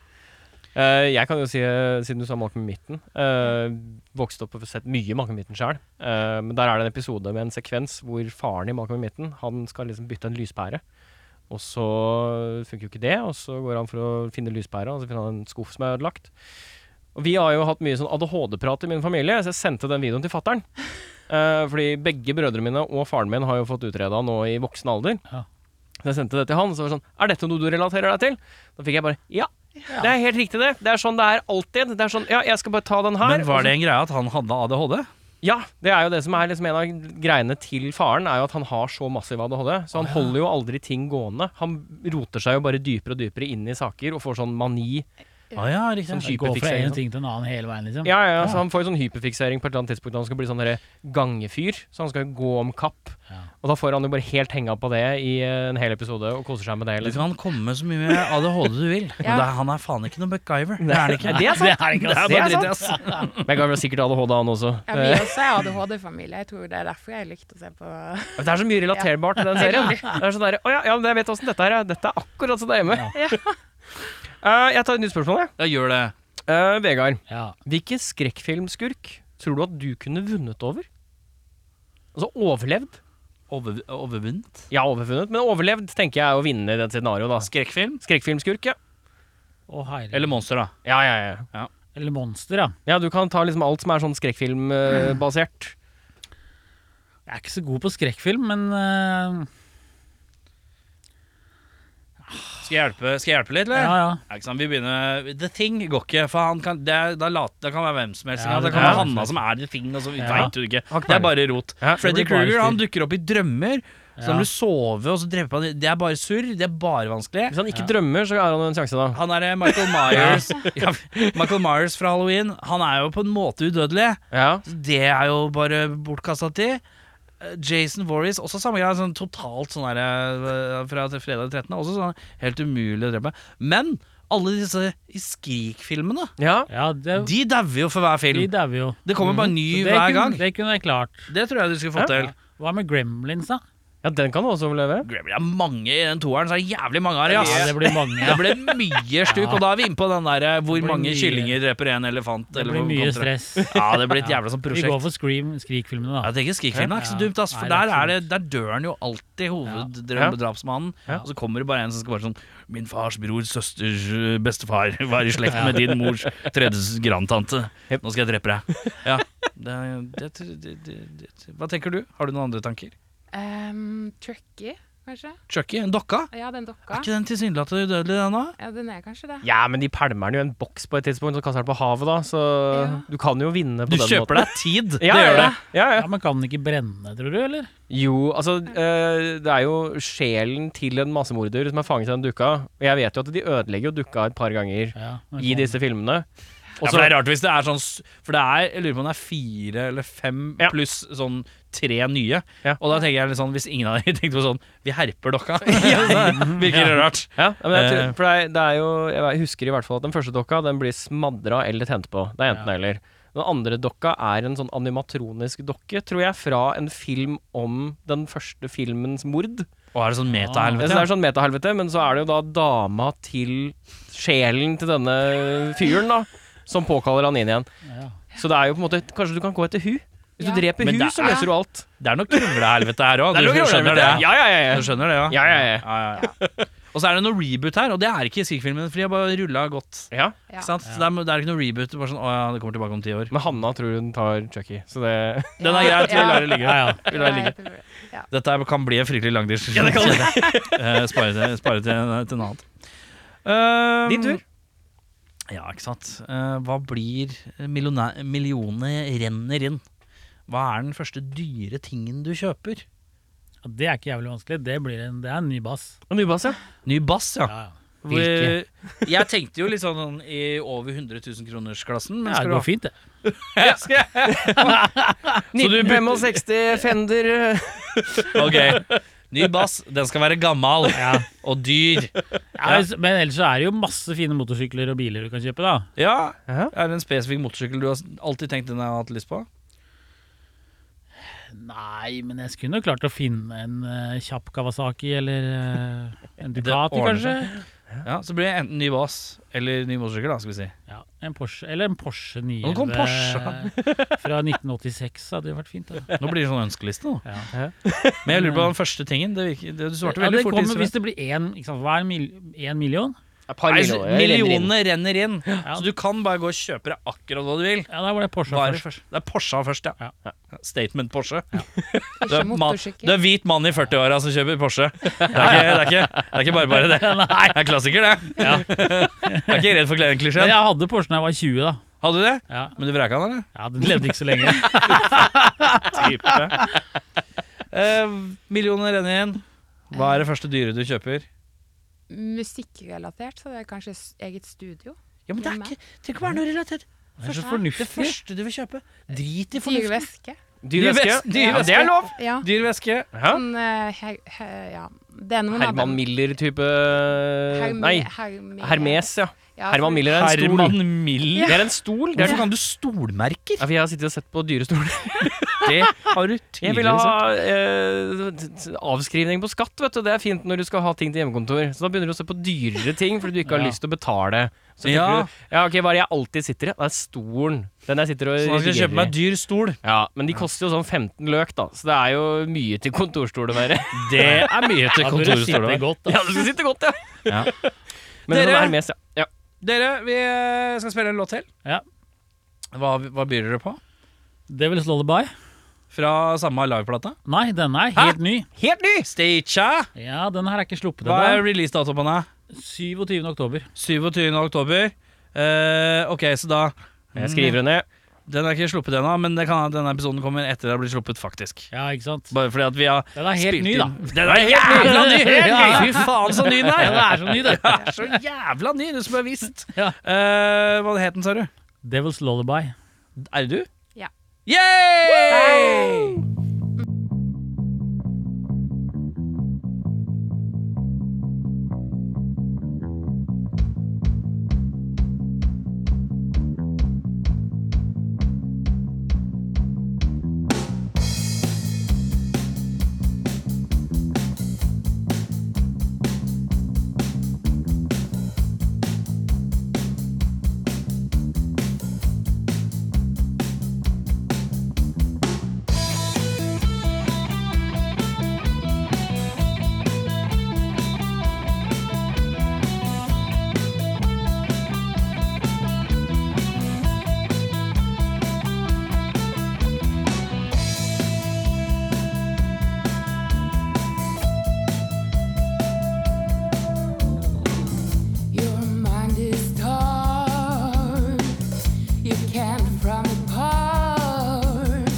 [SPEAKER 2] Eh, jeg kan jo si, eh, siden du sa Malcolm i midten eh, Vokste opp og sett mye Malcolm i midten sjøl. men der er det en episode med en sekvens hvor faren i Malcolm i midten Han skal liksom bytte en lyspære. Og så funker jo ikke det, og så går han for å finne lyspæra, og så finner han en skuff som er ødelagt. Og vi har jo hatt mye sånn ADHD-prat i min familie, så jeg sendte den videoen til fattern. Eh, fordi begge brødrene mine og faren min har jo fått utreda nå i voksen alder.
[SPEAKER 3] Ja.
[SPEAKER 2] Så jeg sendte det til han, så var det sånn Er dette noe du relaterer deg til? Da fikk jeg bare Ja, det er helt riktig, det. Det er sånn det er alltid. Det er sånn Ja, jeg skal bare ta den her.
[SPEAKER 1] Men
[SPEAKER 2] og så-
[SPEAKER 1] var det en greie at han hadde ADHD?
[SPEAKER 2] ja, det er jo det som er liksom en av greiene til faren, er jo at han har så massiv ADHD. Så han holder jo aldri ting gående. Han roter seg jo bare dypere og dypere inn i saker og får sånn mani.
[SPEAKER 1] Å ja, riktig.
[SPEAKER 2] Som
[SPEAKER 3] Det går fra
[SPEAKER 2] Hyperfiksering,
[SPEAKER 3] en
[SPEAKER 2] sånn.
[SPEAKER 3] ting til en annen hele veien, liksom.
[SPEAKER 2] Ja, ja, ja, Så han får jo sånn hyperfiksering på et eller annet tidspunkt. Han skal bli sånn derre gangefyr. Så han skal jo gå om kapp.
[SPEAKER 3] Ja.
[SPEAKER 2] Og da får han jo bare helt henga på det i eh, en hel episode og koser seg med det.
[SPEAKER 1] Du kan
[SPEAKER 2] Liksom.
[SPEAKER 1] komme med så mye med ADHD du vil, men
[SPEAKER 4] Ja.
[SPEAKER 1] det er, han er faen ikke noe MacGyver. Det er han
[SPEAKER 2] *laughs*
[SPEAKER 1] ikke.
[SPEAKER 2] Nei, *laughs* det er sant.
[SPEAKER 3] ikke
[SPEAKER 2] Det er
[SPEAKER 3] å se.
[SPEAKER 2] bare dritt, ass. *laughs* Vegard har sikkert ADHD, han også.
[SPEAKER 4] Ja,
[SPEAKER 1] Eh.
[SPEAKER 4] vi også er ADHD-familie, jeg tror det er derfor jeg likte å se på
[SPEAKER 2] *laughs*
[SPEAKER 4] *laughs*
[SPEAKER 2] Det er så mye relaterbart til den serien. Det er sånn der, «Å ja, ja, men jeg vet åssen dette her er. Dette er akkurat som det er hjemme. *laughs* Eh, jeg tar et nytt spørsmål, jeg.
[SPEAKER 1] Ja, gjør det.
[SPEAKER 2] Eh, Vegard,
[SPEAKER 3] Ja.
[SPEAKER 2] hvilken skrekkfilmskurk tror du at du kunne vunnet over? Altså overlevd?
[SPEAKER 1] Over, overvunnet.
[SPEAKER 2] Ja, overfunnet, men overlevd tenker jeg er å vinne i det scenarioet, da.
[SPEAKER 1] Skrekkfilm?
[SPEAKER 2] Skrekkfilmskurk, ja.
[SPEAKER 3] Å, herregud.
[SPEAKER 1] Eller monster, da.
[SPEAKER 2] Ja, ja, ja.
[SPEAKER 3] Eller monster, ja.
[SPEAKER 2] Ja, du kan ta liksom alt som er sånn skrekkfilmbasert.
[SPEAKER 3] Jeg er ikke så god på skrekkfilm, men eh,
[SPEAKER 1] Skal jeg hjelpe, skal jeg hjelpe litt, eller?
[SPEAKER 3] ja, ja.
[SPEAKER 1] Ja, ikke sant? Vi begynner The Thing går ikke, for han kan, det, er, da lat, det kan være hvem som helst. ikke
[SPEAKER 3] Ja,
[SPEAKER 1] sant? det
[SPEAKER 3] det
[SPEAKER 1] kan
[SPEAKER 3] kan
[SPEAKER 1] være
[SPEAKER 3] være
[SPEAKER 1] Hanna
[SPEAKER 3] hvem som
[SPEAKER 1] som er The Thing, og så
[SPEAKER 3] Ja.
[SPEAKER 1] veit du ikke.
[SPEAKER 2] Har ikke
[SPEAKER 1] Det er bare rot.
[SPEAKER 2] Ja, det
[SPEAKER 1] Freddy
[SPEAKER 3] blir bare
[SPEAKER 1] Kruger han
[SPEAKER 3] styr.
[SPEAKER 1] dukker opp i drømmer, så
[SPEAKER 3] Ja.
[SPEAKER 1] når du sover og så dreper han Det er bare surr, det er bare vanskelig.
[SPEAKER 2] Hvis han ikke drømmer, så har han en sjanse, da.
[SPEAKER 1] Han er eh, Michael
[SPEAKER 3] *laughs*
[SPEAKER 1] Myers ja, Michael Myers fra Halloween. Han er jo på en måte udødelig.
[SPEAKER 2] Ja.
[SPEAKER 1] Så Det er jo bare bortkasta tid. Eh, Jason Warris, også samme greia. Sånn totalt sånn derre fra til fredag 13. Også sånn helt umulig å drepe. Men alle disse Skrik-filmene,
[SPEAKER 2] ja.
[SPEAKER 3] ja det,
[SPEAKER 1] de dauer jo for hver
[SPEAKER 3] de
[SPEAKER 1] film.
[SPEAKER 3] dauer jo.
[SPEAKER 1] Det kommer bare en
[SPEAKER 3] Så
[SPEAKER 1] ny
[SPEAKER 3] det
[SPEAKER 1] hver
[SPEAKER 3] kunne,
[SPEAKER 1] gang.
[SPEAKER 3] Det kunne jeg klart.
[SPEAKER 1] Det tror jeg du skulle fått til.
[SPEAKER 3] Hva med Gremlins, da?
[SPEAKER 2] Ja, den kan du også overleve.
[SPEAKER 1] Gremlin er mange i den toeren, så er det jævlig mange her,
[SPEAKER 3] Ja,
[SPEAKER 1] ass.
[SPEAKER 3] det blir mange.
[SPEAKER 1] Det ble
[SPEAKER 3] *laughs*
[SPEAKER 1] mye stuk, og da er vi inne på den der eh, hvor
[SPEAKER 3] Det blir
[SPEAKER 1] mange
[SPEAKER 3] mye.
[SPEAKER 1] kyllinger dreper en elefant.
[SPEAKER 3] Det
[SPEAKER 1] eller
[SPEAKER 3] blir
[SPEAKER 1] hvor
[SPEAKER 3] mye
[SPEAKER 1] kontra-
[SPEAKER 3] stress.
[SPEAKER 1] Ja, det blir et jævla sånt
[SPEAKER 3] *laughs* Vi
[SPEAKER 1] prosjekt.
[SPEAKER 3] går for Scream, Skrik-filmene, da.
[SPEAKER 1] Jeg tenker Skrik-filmen er ikke så
[SPEAKER 3] Ja.
[SPEAKER 1] dumt, ass, for
[SPEAKER 3] Nei, det er
[SPEAKER 1] der,
[SPEAKER 3] ikke
[SPEAKER 1] er det, der dør han jo alltid, hoveddrapsmannen. Og så kommer det bare en som skal være sånn Min fars bror, søsters øh, bestefar *laughs* var i slekt med din mors tredje grandtante.
[SPEAKER 2] Jep.
[SPEAKER 1] Nå skal jeg drepe deg.
[SPEAKER 2] *laughs*
[SPEAKER 1] Ja, det, det, det, det, det. Hva tenker du? Har du noen andre tanker?
[SPEAKER 4] um, Trucky, kanskje?
[SPEAKER 1] Chucky, en dokka?
[SPEAKER 4] Ja, den dokka.
[SPEAKER 1] Er ikke den tilsynelatende udødelig, den da?
[SPEAKER 4] Ja, den er kanskje det.
[SPEAKER 2] Ja, men de pælmer den jo i en boks på et tidspunkt og kaster den på havet, da. Så
[SPEAKER 4] Ja.
[SPEAKER 2] du kan jo vinne på
[SPEAKER 1] Du
[SPEAKER 2] den måten.
[SPEAKER 1] kjøper deg tid,
[SPEAKER 2] Ja,
[SPEAKER 1] det gjør
[SPEAKER 2] ja,
[SPEAKER 1] det.
[SPEAKER 2] ja, ja.
[SPEAKER 3] Ja, Men kan den ikke brenne, tror du, eller?
[SPEAKER 2] Jo, altså eh, Det er jo sjelen til en massemorder som er fanget i den dukka. Og jeg vet jo at de ødelegger jo dukka et par ganger
[SPEAKER 3] Ja, men sånn.
[SPEAKER 2] i
[SPEAKER 3] kan-
[SPEAKER 2] disse filmene.
[SPEAKER 1] Ja, for det er rart hvis det er sånn s- For det er, jeg lurer på om det er fire eller fem
[SPEAKER 2] Ja.
[SPEAKER 1] pluss sånn tre nye.
[SPEAKER 2] Ja.
[SPEAKER 1] Og da tenker jeg litt sånn hvis ingen av dere *laughs* tenkte på sånn Vi herper
[SPEAKER 2] *laughs*
[SPEAKER 1] dokka. *laughs* Så Virker det rart.
[SPEAKER 2] Ja, men jeg tror,
[SPEAKER 1] Eh.
[SPEAKER 2] for det er, det er jo Jeg husker i hvert fall at den første dokka Den blir smadra eller tent på. Det er enten
[SPEAKER 3] Ja.
[SPEAKER 2] eller. Den andre dokka er en sånn animatronisk dokke, tror jeg, fra en film om den første filmens mord.
[SPEAKER 1] Og er det sånn
[SPEAKER 2] Ja, så
[SPEAKER 1] metahelvete?
[SPEAKER 2] det er sånn metahelvete, men så er det jo da dama til sjelen til denne fyren, da, som påkaller han inn igjen.
[SPEAKER 3] Ja.
[SPEAKER 2] Så det er jo på en måte Kanskje du kan gå etter hun? Hvis
[SPEAKER 4] Ja.
[SPEAKER 2] du dreper
[SPEAKER 1] Men
[SPEAKER 2] hun,
[SPEAKER 1] det
[SPEAKER 2] så
[SPEAKER 1] er-
[SPEAKER 2] løser du alt.
[SPEAKER 1] Det er noe krumlehelvete her òg.
[SPEAKER 2] Det er
[SPEAKER 1] Du
[SPEAKER 2] noe
[SPEAKER 1] skjønner
[SPEAKER 2] greier
[SPEAKER 1] det?
[SPEAKER 2] med det. Ja, ja, ja.
[SPEAKER 1] Du
[SPEAKER 2] ja.
[SPEAKER 1] skjønner det, ja?
[SPEAKER 2] Ja, ja, ja.
[SPEAKER 1] ja, ja. Og så er det noe reboot her, og det er ikke i Skrik-filmen, for de har bare rulla godt.
[SPEAKER 2] ja.
[SPEAKER 4] Ja.
[SPEAKER 1] Ikke sant? Så det, er, det er ikke noe reboot. Bare sånn, å ja, det kommer tilbake om ti år.
[SPEAKER 2] Men Hanna tror hun tar Chucky, så det
[SPEAKER 1] Den er greit, vi
[SPEAKER 4] Ja.
[SPEAKER 1] lar det ligge.
[SPEAKER 3] Ja, ja.
[SPEAKER 1] Vi lar det ligge.
[SPEAKER 4] ligge.
[SPEAKER 1] Dette her kan bli en fryktelig lang diskusjon. Ja, det
[SPEAKER 2] *laughs*
[SPEAKER 1] kan
[SPEAKER 2] Eh,
[SPEAKER 1] det. spare til, spare til, til en annen. Um,
[SPEAKER 2] Din tur.
[SPEAKER 1] Ja, ikke sant. Eh, hva blir millionæ- Millionene renner inn. Hva er den første dyre tingen du kjøper?
[SPEAKER 3] Ja, det er ikke jævlig vanskelig. Det, blir en, det er en ny bass.
[SPEAKER 2] Og nybass, ja.
[SPEAKER 1] Ny bass, ja.
[SPEAKER 3] Ja, ja.
[SPEAKER 2] Hvilke?
[SPEAKER 1] Hvor- Jeg tenkte jo litt sånn i over 100 000 kronersklassen. Men
[SPEAKER 3] Ja,
[SPEAKER 1] skal
[SPEAKER 3] det
[SPEAKER 1] du
[SPEAKER 3] går
[SPEAKER 1] ha
[SPEAKER 3] fint, det.
[SPEAKER 1] Ja, skal jeg-
[SPEAKER 2] 1965 Fender
[SPEAKER 4] eh,
[SPEAKER 1] Ok. Ny bass, den skal være gammal
[SPEAKER 3] Ja.
[SPEAKER 1] og dyr.
[SPEAKER 3] Ja, hvis- Men ellers så er det jo masse fine motorsykler og biler du kan kjøpe, da.
[SPEAKER 1] Ja.
[SPEAKER 2] Ja.
[SPEAKER 1] Er det en spesifikk motorsykkel du har alltid tenkt den jeg har hatt lyst på?
[SPEAKER 3] Nei, men jeg skulle nok klart å finne en eh, kjapp Kawasaki eller eh, en Ducati,
[SPEAKER 1] ordner
[SPEAKER 3] kanskje.
[SPEAKER 1] Ja, Så blir det enten ny bass eller ny motorsykkel, da, skal vi si.
[SPEAKER 3] Ja, en Porsche, eller en Porsche 911
[SPEAKER 1] Nå kom
[SPEAKER 3] *laughs* fra 1986 hadde jo vært fint.
[SPEAKER 1] *laughs*
[SPEAKER 3] Da.
[SPEAKER 1] Nå blir det sånn ønskeliste, da.
[SPEAKER 3] Ja.
[SPEAKER 1] Men jeg lurer på den første tingen. Det virker, det, du svarte
[SPEAKER 3] Ja,
[SPEAKER 1] veldig
[SPEAKER 3] det
[SPEAKER 1] fort.
[SPEAKER 3] kommer,
[SPEAKER 1] Isabel.
[SPEAKER 3] hvis det blir én ikke sant, Hva er en mil- en million?
[SPEAKER 2] Et par
[SPEAKER 1] Nei,
[SPEAKER 2] millioner.
[SPEAKER 1] millionene renner inn.
[SPEAKER 3] Ja.
[SPEAKER 1] Så du kan bare gå og kjøpe deg akkurat hva du vil.
[SPEAKER 3] Ja, da var det Porsche
[SPEAKER 1] Bare,
[SPEAKER 3] først.
[SPEAKER 1] det er Porsche først, ja.
[SPEAKER 3] Ja.
[SPEAKER 1] Statement Porsche. *laughs* Du,
[SPEAKER 4] Ikke
[SPEAKER 1] er mann- du
[SPEAKER 4] motorsykkel.
[SPEAKER 1] er hvit mann i 40-åra som kjøper Porsche. Det er ikke, det er ikke, det er ikke bare
[SPEAKER 3] *laughs*
[SPEAKER 1] bare det.
[SPEAKER 3] Nei,
[SPEAKER 1] Det er klassiker, det. Jeg er ikke redd for
[SPEAKER 3] men
[SPEAKER 1] Kleven-klisjeen.
[SPEAKER 3] jeg hadde Porsche da jeg var 20, da.
[SPEAKER 1] Hadde du det?
[SPEAKER 3] Ja,
[SPEAKER 1] Men du vreka den, eller?
[SPEAKER 3] ja Den levde ikke
[SPEAKER 1] *laughs*
[SPEAKER 3] så lenge.
[SPEAKER 1] Eh, millioner renner inn. Hva er det første dyret du kjøper?
[SPEAKER 4] Musikkrelatert, så det er kanskje s- eget studio.
[SPEAKER 1] Ja, men det er ikke, Tenk å være noe relatert.
[SPEAKER 3] Det er så
[SPEAKER 1] Det
[SPEAKER 3] *laughs* fornuftig.
[SPEAKER 1] første du vil kjøpe. Drit i
[SPEAKER 4] Dyr
[SPEAKER 1] fornuften.
[SPEAKER 2] *laughs*
[SPEAKER 4] væske.
[SPEAKER 2] Dyr væske.
[SPEAKER 1] Dyr væske. Dyr
[SPEAKER 2] Ja, det er lov.
[SPEAKER 4] Ja.
[SPEAKER 1] Dyr væske.
[SPEAKER 2] Hæ?
[SPEAKER 4] Sånn, eh, her, her, ja. Det er noen
[SPEAKER 2] Herman
[SPEAKER 4] av dem.
[SPEAKER 2] Miller-type
[SPEAKER 4] Herme-
[SPEAKER 2] Nei,
[SPEAKER 4] Herme-
[SPEAKER 2] Hermes, ja.
[SPEAKER 4] Ja,
[SPEAKER 2] Herman
[SPEAKER 4] for-
[SPEAKER 2] Miller er en stol.
[SPEAKER 1] Herman Miller.
[SPEAKER 2] Det er en stol. Det er
[SPEAKER 1] Hvorfor kan sånn du stolmerker?
[SPEAKER 2] ja, for jeg har sittet og sett på dyrestoler.
[SPEAKER 1] Det har du
[SPEAKER 2] *laughs*
[SPEAKER 1] sånn?
[SPEAKER 2] Jeg ville ha eh, t- t- avskrivning på skatt, vet du. Det er fint når du skal ha ting til hjemmekontor. Så da begynner du å se på dyrere ting fordi du ikke har
[SPEAKER 3] Ja.
[SPEAKER 2] lyst til å betale. Så tenker
[SPEAKER 1] Ja.
[SPEAKER 2] du Ja, ok, hva er det jeg alltid sitter i? Det er stolen. Den jeg sitter og
[SPEAKER 1] Så nå skal jeg
[SPEAKER 2] redigerer
[SPEAKER 1] kjøpe meg
[SPEAKER 2] i.
[SPEAKER 1] dyr stol.
[SPEAKER 2] Ja, men de koster jo sånn 15 løk, da. Så det er jo mye til kontorstol å være.
[SPEAKER 1] Det er mye til
[SPEAKER 3] Ja, du
[SPEAKER 1] kontorstoler.
[SPEAKER 3] sitter godt, da.
[SPEAKER 2] Ja, du skal sitte godt, ja.
[SPEAKER 1] Ja.
[SPEAKER 2] Men
[SPEAKER 1] Dere-
[SPEAKER 2] sånn er mest, ja. ja.
[SPEAKER 1] Dere, vi eh, skal spille en låt til.
[SPEAKER 3] Ja.
[SPEAKER 1] Hva, hva byr dere på?
[SPEAKER 3] Devil's Lullaby?
[SPEAKER 1] Fra samme liveplate?
[SPEAKER 3] Nei, denne er
[SPEAKER 1] Hæ?
[SPEAKER 3] helt ny.
[SPEAKER 1] Helt ny! Stacia.
[SPEAKER 3] Ja, den her er ikke sluppet
[SPEAKER 1] Hva er
[SPEAKER 3] ennå.
[SPEAKER 1] releasedato på den?
[SPEAKER 3] 27. oktober.
[SPEAKER 1] 27. oktober. Eh, ok, så da
[SPEAKER 2] Jeg
[SPEAKER 1] Mm.
[SPEAKER 2] skriver det ned.
[SPEAKER 1] Den er ikke sluppet ennå, men det kan, hende denne episoden kommer etter det har blitt sluppet, faktisk.
[SPEAKER 3] Ja, ikke sant?
[SPEAKER 1] Bare fordi at vi har
[SPEAKER 3] Den er helt
[SPEAKER 1] spilt
[SPEAKER 3] ny, da.
[SPEAKER 1] inn- Den er jævla ny!
[SPEAKER 3] Ja.
[SPEAKER 1] Fy faen, så ny den
[SPEAKER 3] *laughs* Ja,
[SPEAKER 1] er!
[SPEAKER 3] den er
[SPEAKER 1] *laughs*
[SPEAKER 3] så ny, den.
[SPEAKER 1] Den er så jævla ny, du skulle ha visst.
[SPEAKER 3] Ja.
[SPEAKER 1] Eh, hva het den, sa du?
[SPEAKER 3] Devil's Lullaby.
[SPEAKER 1] Er det du?
[SPEAKER 4] Ja.
[SPEAKER 1] Yay!
[SPEAKER 5] Your mind is torn. You can't from the part.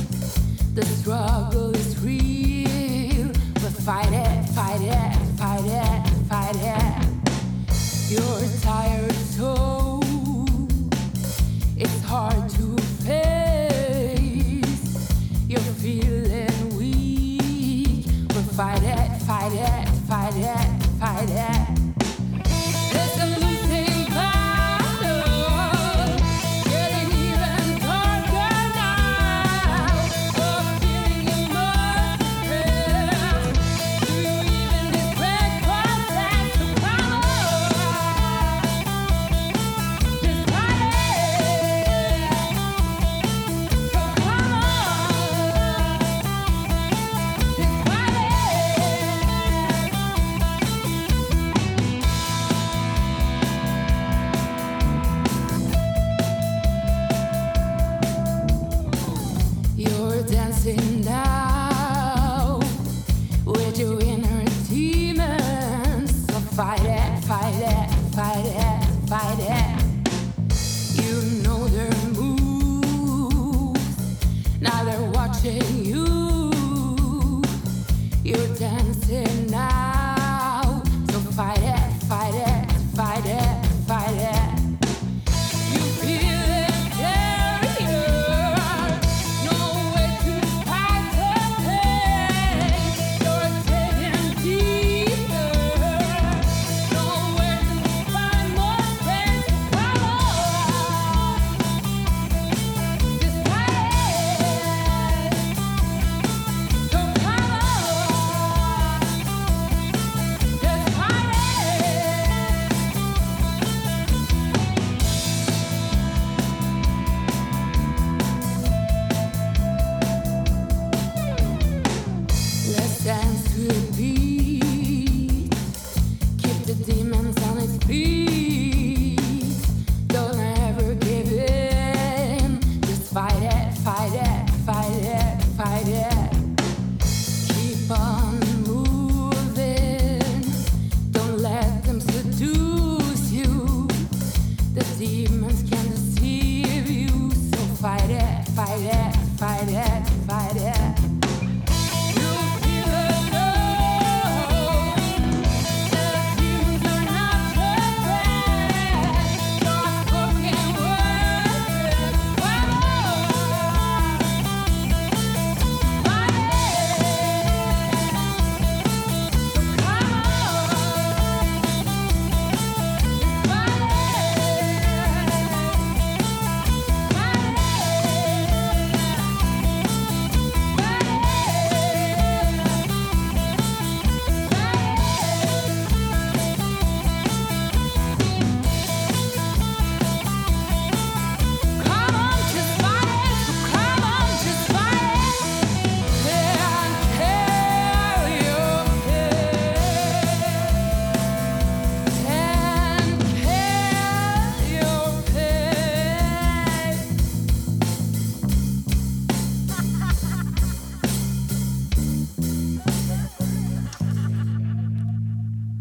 [SPEAKER 5] The struggle is real, but fight it, fight it, fight it, fight it. Your tired soul. It's hard to face. You're feeling weak, but fight it, fight it, fight it, fight it. It's a losing battle, getting even darker now. Oh, feeling immersed, do you even expect contact to power? Just fight it, so come on, just fight it.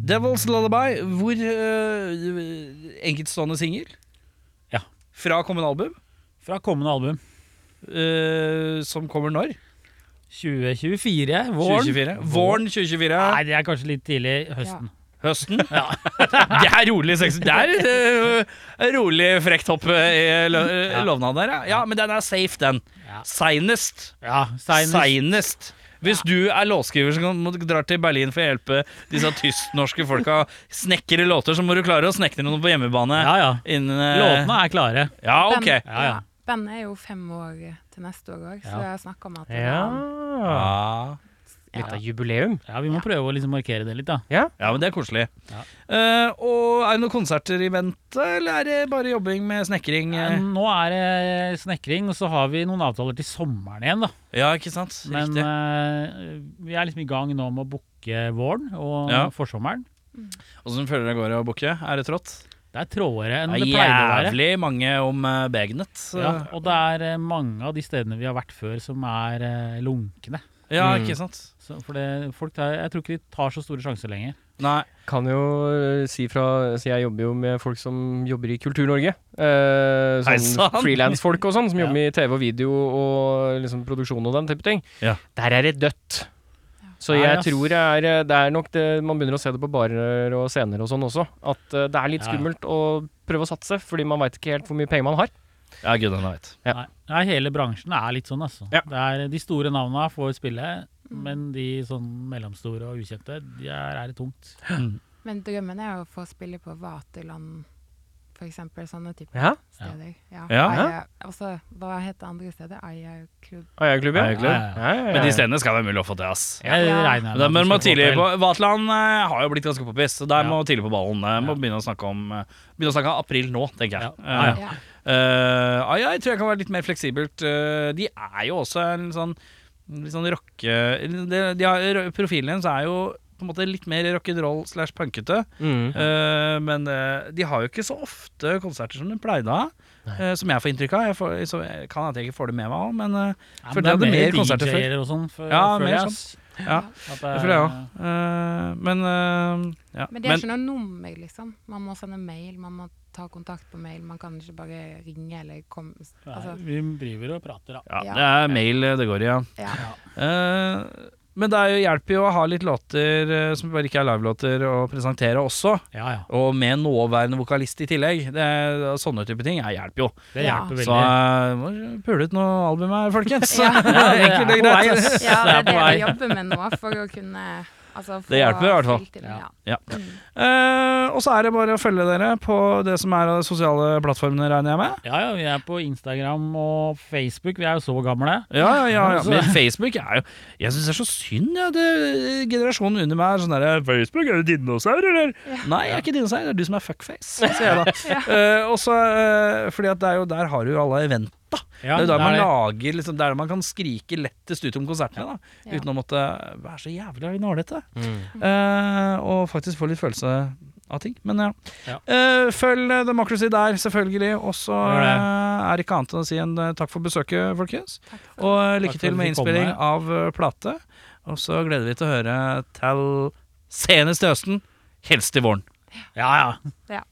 [SPEAKER 1] Devil's Lullaby, hvor uh, enkeltstående singel
[SPEAKER 3] Ja.
[SPEAKER 1] fra kommunalbum,
[SPEAKER 3] Fra kommende album.
[SPEAKER 1] eh, som kommer når?
[SPEAKER 3] 2024, våren.
[SPEAKER 1] 2024. Våren 2024.
[SPEAKER 3] Nei, det er kanskje litt tidlig. Høsten. *laughs*
[SPEAKER 1] Høsten. det er rolig sex. Det er eh, rolig frekt hopp eh, i lo
[SPEAKER 3] Ja.
[SPEAKER 1] lovnaden der, ja. ja. Men den er safe, den.
[SPEAKER 3] Ja.
[SPEAKER 1] Seinest.
[SPEAKER 3] Ja, seinest.
[SPEAKER 1] Seinest. Hvis du er låtskriver som kan- må drar til Berlin for å hjelpe disse tysknorske folka snekre låter, så må du klare å snekre noe på hjemmebane.
[SPEAKER 3] Ja, ja.
[SPEAKER 1] Innen, eh,
[SPEAKER 3] Låtene er klare.
[SPEAKER 1] Ja, ok.
[SPEAKER 4] Bandet-
[SPEAKER 3] Ja, ja.
[SPEAKER 4] Bandet er jo fem år til neste år òg, så
[SPEAKER 3] Ja.
[SPEAKER 4] jeg har snakka om at det
[SPEAKER 2] Ja.
[SPEAKER 4] var-
[SPEAKER 1] Ah.
[SPEAKER 2] Litt av jubileum.
[SPEAKER 3] Ja, Vi må prøve å liksom markere det litt, da.
[SPEAKER 1] Ja, men det er koselig.
[SPEAKER 3] Ja.
[SPEAKER 1] Eh, og er det noen konserter i vente, eller er det bare jobbing med snekring? eh?
[SPEAKER 3] Nå er det snekring, og så har vi noen avtaler til sommeren igjen, da.
[SPEAKER 1] Ja, ikke sant?
[SPEAKER 3] Men
[SPEAKER 1] Riktig.
[SPEAKER 3] eh, vi er liksom i gang nå med å booke våren og
[SPEAKER 1] Ja.
[SPEAKER 3] forsommeren.
[SPEAKER 1] Åssen føler dere går i å booke? Er det trått?
[SPEAKER 3] Det er trådere enn
[SPEAKER 1] Det
[SPEAKER 3] det
[SPEAKER 1] er
[SPEAKER 3] pleier å være.
[SPEAKER 1] jævlig mange om eh, Begnet. så-
[SPEAKER 3] Ja, og det er eh, mange av de stedene vi har vært før som er eh, lunkne.
[SPEAKER 1] ja,
[SPEAKER 2] Mm.
[SPEAKER 1] ikke sant?
[SPEAKER 3] Så for det, folk tar, jeg tror ikke de tar så store sjanser lenger.
[SPEAKER 1] Nei.
[SPEAKER 2] Kan jo eh, si fra Så jeg jobber jo med folk som jobber i Kultur-Norge. Eh,
[SPEAKER 1] Hei,
[SPEAKER 2] sånn
[SPEAKER 1] sant.
[SPEAKER 2] frilansfolk og sånn, som
[SPEAKER 3] Ja.
[SPEAKER 2] jobber i TV og video og liksom produksjon og den type ting.
[SPEAKER 1] Ja.
[SPEAKER 2] Der er det dødt. Så
[SPEAKER 3] Nei,
[SPEAKER 2] jeg
[SPEAKER 3] ass.
[SPEAKER 2] tror det er, eh, det er nok det Man begynner å se det på barer og scener og sånn også. At eh, det er litt
[SPEAKER 3] Ja, ja.
[SPEAKER 2] skummelt å prøve å satse, fordi man veit ikke helt hvor mye penger man har.
[SPEAKER 1] Ja, gud, han vet.
[SPEAKER 2] Ja.
[SPEAKER 3] Nei, nei, hele bransjen er litt sånn, altså.
[SPEAKER 2] Ja.
[SPEAKER 3] Det er, de store navna får spille,
[SPEAKER 1] Mm.
[SPEAKER 3] men de sånn mellomstore og ukjente, de er, er det tungt.
[SPEAKER 4] Men drømmen er jo å få spille på Vaterland, f.eks. Sånne typer
[SPEAKER 2] Ja.
[SPEAKER 4] steder. Ja.
[SPEAKER 1] Ja.
[SPEAKER 4] Aya- Altså, hva heter det andre stedet? Aya-klubb.
[SPEAKER 2] Eierklubb, ja.
[SPEAKER 1] Eierklubb.
[SPEAKER 2] Ja, ja, ja.
[SPEAKER 1] Men de stedene skal være mulig å få til, ass.
[SPEAKER 3] Jeg
[SPEAKER 4] Ja.
[SPEAKER 3] regner
[SPEAKER 1] Men
[SPEAKER 3] med
[SPEAKER 1] man må
[SPEAKER 3] at vi skal
[SPEAKER 1] tidlig
[SPEAKER 3] få
[SPEAKER 1] på
[SPEAKER 3] til.
[SPEAKER 1] Vatland eh, har jo blitt ganske poppis, så der
[SPEAKER 3] Ja.
[SPEAKER 1] må tidlig på ballen. Eh, Må
[SPEAKER 3] Ja.
[SPEAKER 1] begynne å snakke om eh, Begynne å snakke om april nå, tenker jeg.
[SPEAKER 3] Ja. Ja,
[SPEAKER 1] Eh,
[SPEAKER 4] Ja.
[SPEAKER 1] eh, ah, ja, jeg tror jeg kan være litt mer fleksibelt. Eh, de er jo også en sånn Litt sånn rocke... De, de har, profilen deres er jo på en måte litt mer rock'n'roll slash punkete.
[SPEAKER 2] Mm.
[SPEAKER 1] Eh, men eh, de har jo ikke så ofte konserter som de pleide å ha. eh, som jeg får inntrykk av. Jeg får, så jeg kan at jeg ikke får det med meg òg, men eh,
[SPEAKER 3] Ja,
[SPEAKER 1] For
[SPEAKER 3] men
[SPEAKER 1] de hadde
[SPEAKER 3] det er
[SPEAKER 1] mer konserter før.
[SPEAKER 3] DJ-er og sånn, før,
[SPEAKER 1] Ja,
[SPEAKER 3] føler
[SPEAKER 1] mer sånn.
[SPEAKER 3] jeg, ass.
[SPEAKER 1] ja.
[SPEAKER 3] At det
[SPEAKER 1] Det
[SPEAKER 3] er-
[SPEAKER 1] føler jeg òg. men eh, ja.
[SPEAKER 4] Men det er ikke noe nummer, liksom. Man må sende mail, man må ta kontakt på mail. Man kan ikke bare ringe eller komme
[SPEAKER 3] Nei,
[SPEAKER 4] altså,
[SPEAKER 3] Vi driver og prater, da.
[SPEAKER 1] ja,
[SPEAKER 4] ja.
[SPEAKER 1] det er mail eh, det går i, ja.
[SPEAKER 3] *laughs*
[SPEAKER 4] ja.
[SPEAKER 1] Eh, men det er jo, hjelper jo å ha litt låter eh, som bare ikke er livelåter, å presentere også.
[SPEAKER 3] Ja, ja.
[SPEAKER 1] Og med en nåværende vokalist i tillegg. Det, er- sånne type ting eh, hjelper jo.
[SPEAKER 3] Det
[SPEAKER 4] Ja.
[SPEAKER 3] hjelper veldig.
[SPEAKER 1] Så eh, må pule ut noe album her, folkens.
[SPEAKER 4] Ja.
[SPEAKER 1] *laughs*
[SPEAKER 4] Ja, det
[SPEAKER 3] *laughs* Ja, det
[SPEAKER 1] Enkelt og
[SPEAKER 3] er på
[SPEAKER 1] greit.
[SPEAKER 3] vei, ass.
[SPEAKER 4] ja, det er det
[SPEAKER 3] vei.
[SPEAKER 4] vi jobber med nå, for å kunne altså, få
[SPEAKER 1] Det hjelper i hvert fall.
[SPEAKER 4] fylt til,
[SPEAKER 3] Ja.
[SPEAKER 4] Ja.
[SPEAKER 1] Ja.
[SPEAKER 4] Mm.
[SPEAKER 1] *laughs* Eh, og så er det bare å følge dere på det som er av de sosiale plattformene, regner jeg med.
[SPEAKER 3] Ja, ja, vi er på Instagram og Facebook. Vi er jo så gamle.
[SPEAKER 1] Ja, ja, ja, ja. Men Facebook er jo Jeg syns det er så synd, ja. Det, generasjonen under meg er sånn derre Facebook, er du dinosaur, eller? Nei, jeg er ikke dinosaur, det er du som er fuckface, sier jeg da. Eh, og så eh, Fordi at det er jo der har du jo alle eventa.
[SPEAKER 3] Ja,
[SPEAKER 1] det er jo der
[SPEAKER 3] det
[SPEAKER 1] man
[SPEAKER 3] er det.
[SPEAKER 1] lager liksom, Det er der man kan skrike lettest ut om konsertene, da.
[SPEAKER 4] Ja.
[SPEAKER 1] Uten å måtte være så jævlig nålete.
[SPEAKER 2] Mm.
[SPEAKER 1] Eh, og faktisk få litt følelse av ting. Men ja.
[SPEAKER 3] Ja.
[SPEAKER 1] Eh, følg eh, Democracy der, selvfølgelig. Og så
[SPEAKER 3] Gjør det.
[SPEAKER 1] eh, er det ikke annet enn å si en eh, takk for besøket, folkens. Og eh,
[SPEAKER 3] Takk for
[SPEAKER 1] lykke til
[SPEAKER 3] at
[SPEAKER 1] med
[SPEAKER 3] vi kom
[SPEAKER 1] innspilling
[SPEAKER 3] her.
[SPEAKER 1] av eh, plate. Og så gleder vi til å høre til senest til høsten. Helst til våren.
[SPEAKER 3] Ja, ja.
[SPEAKER 4] Ja.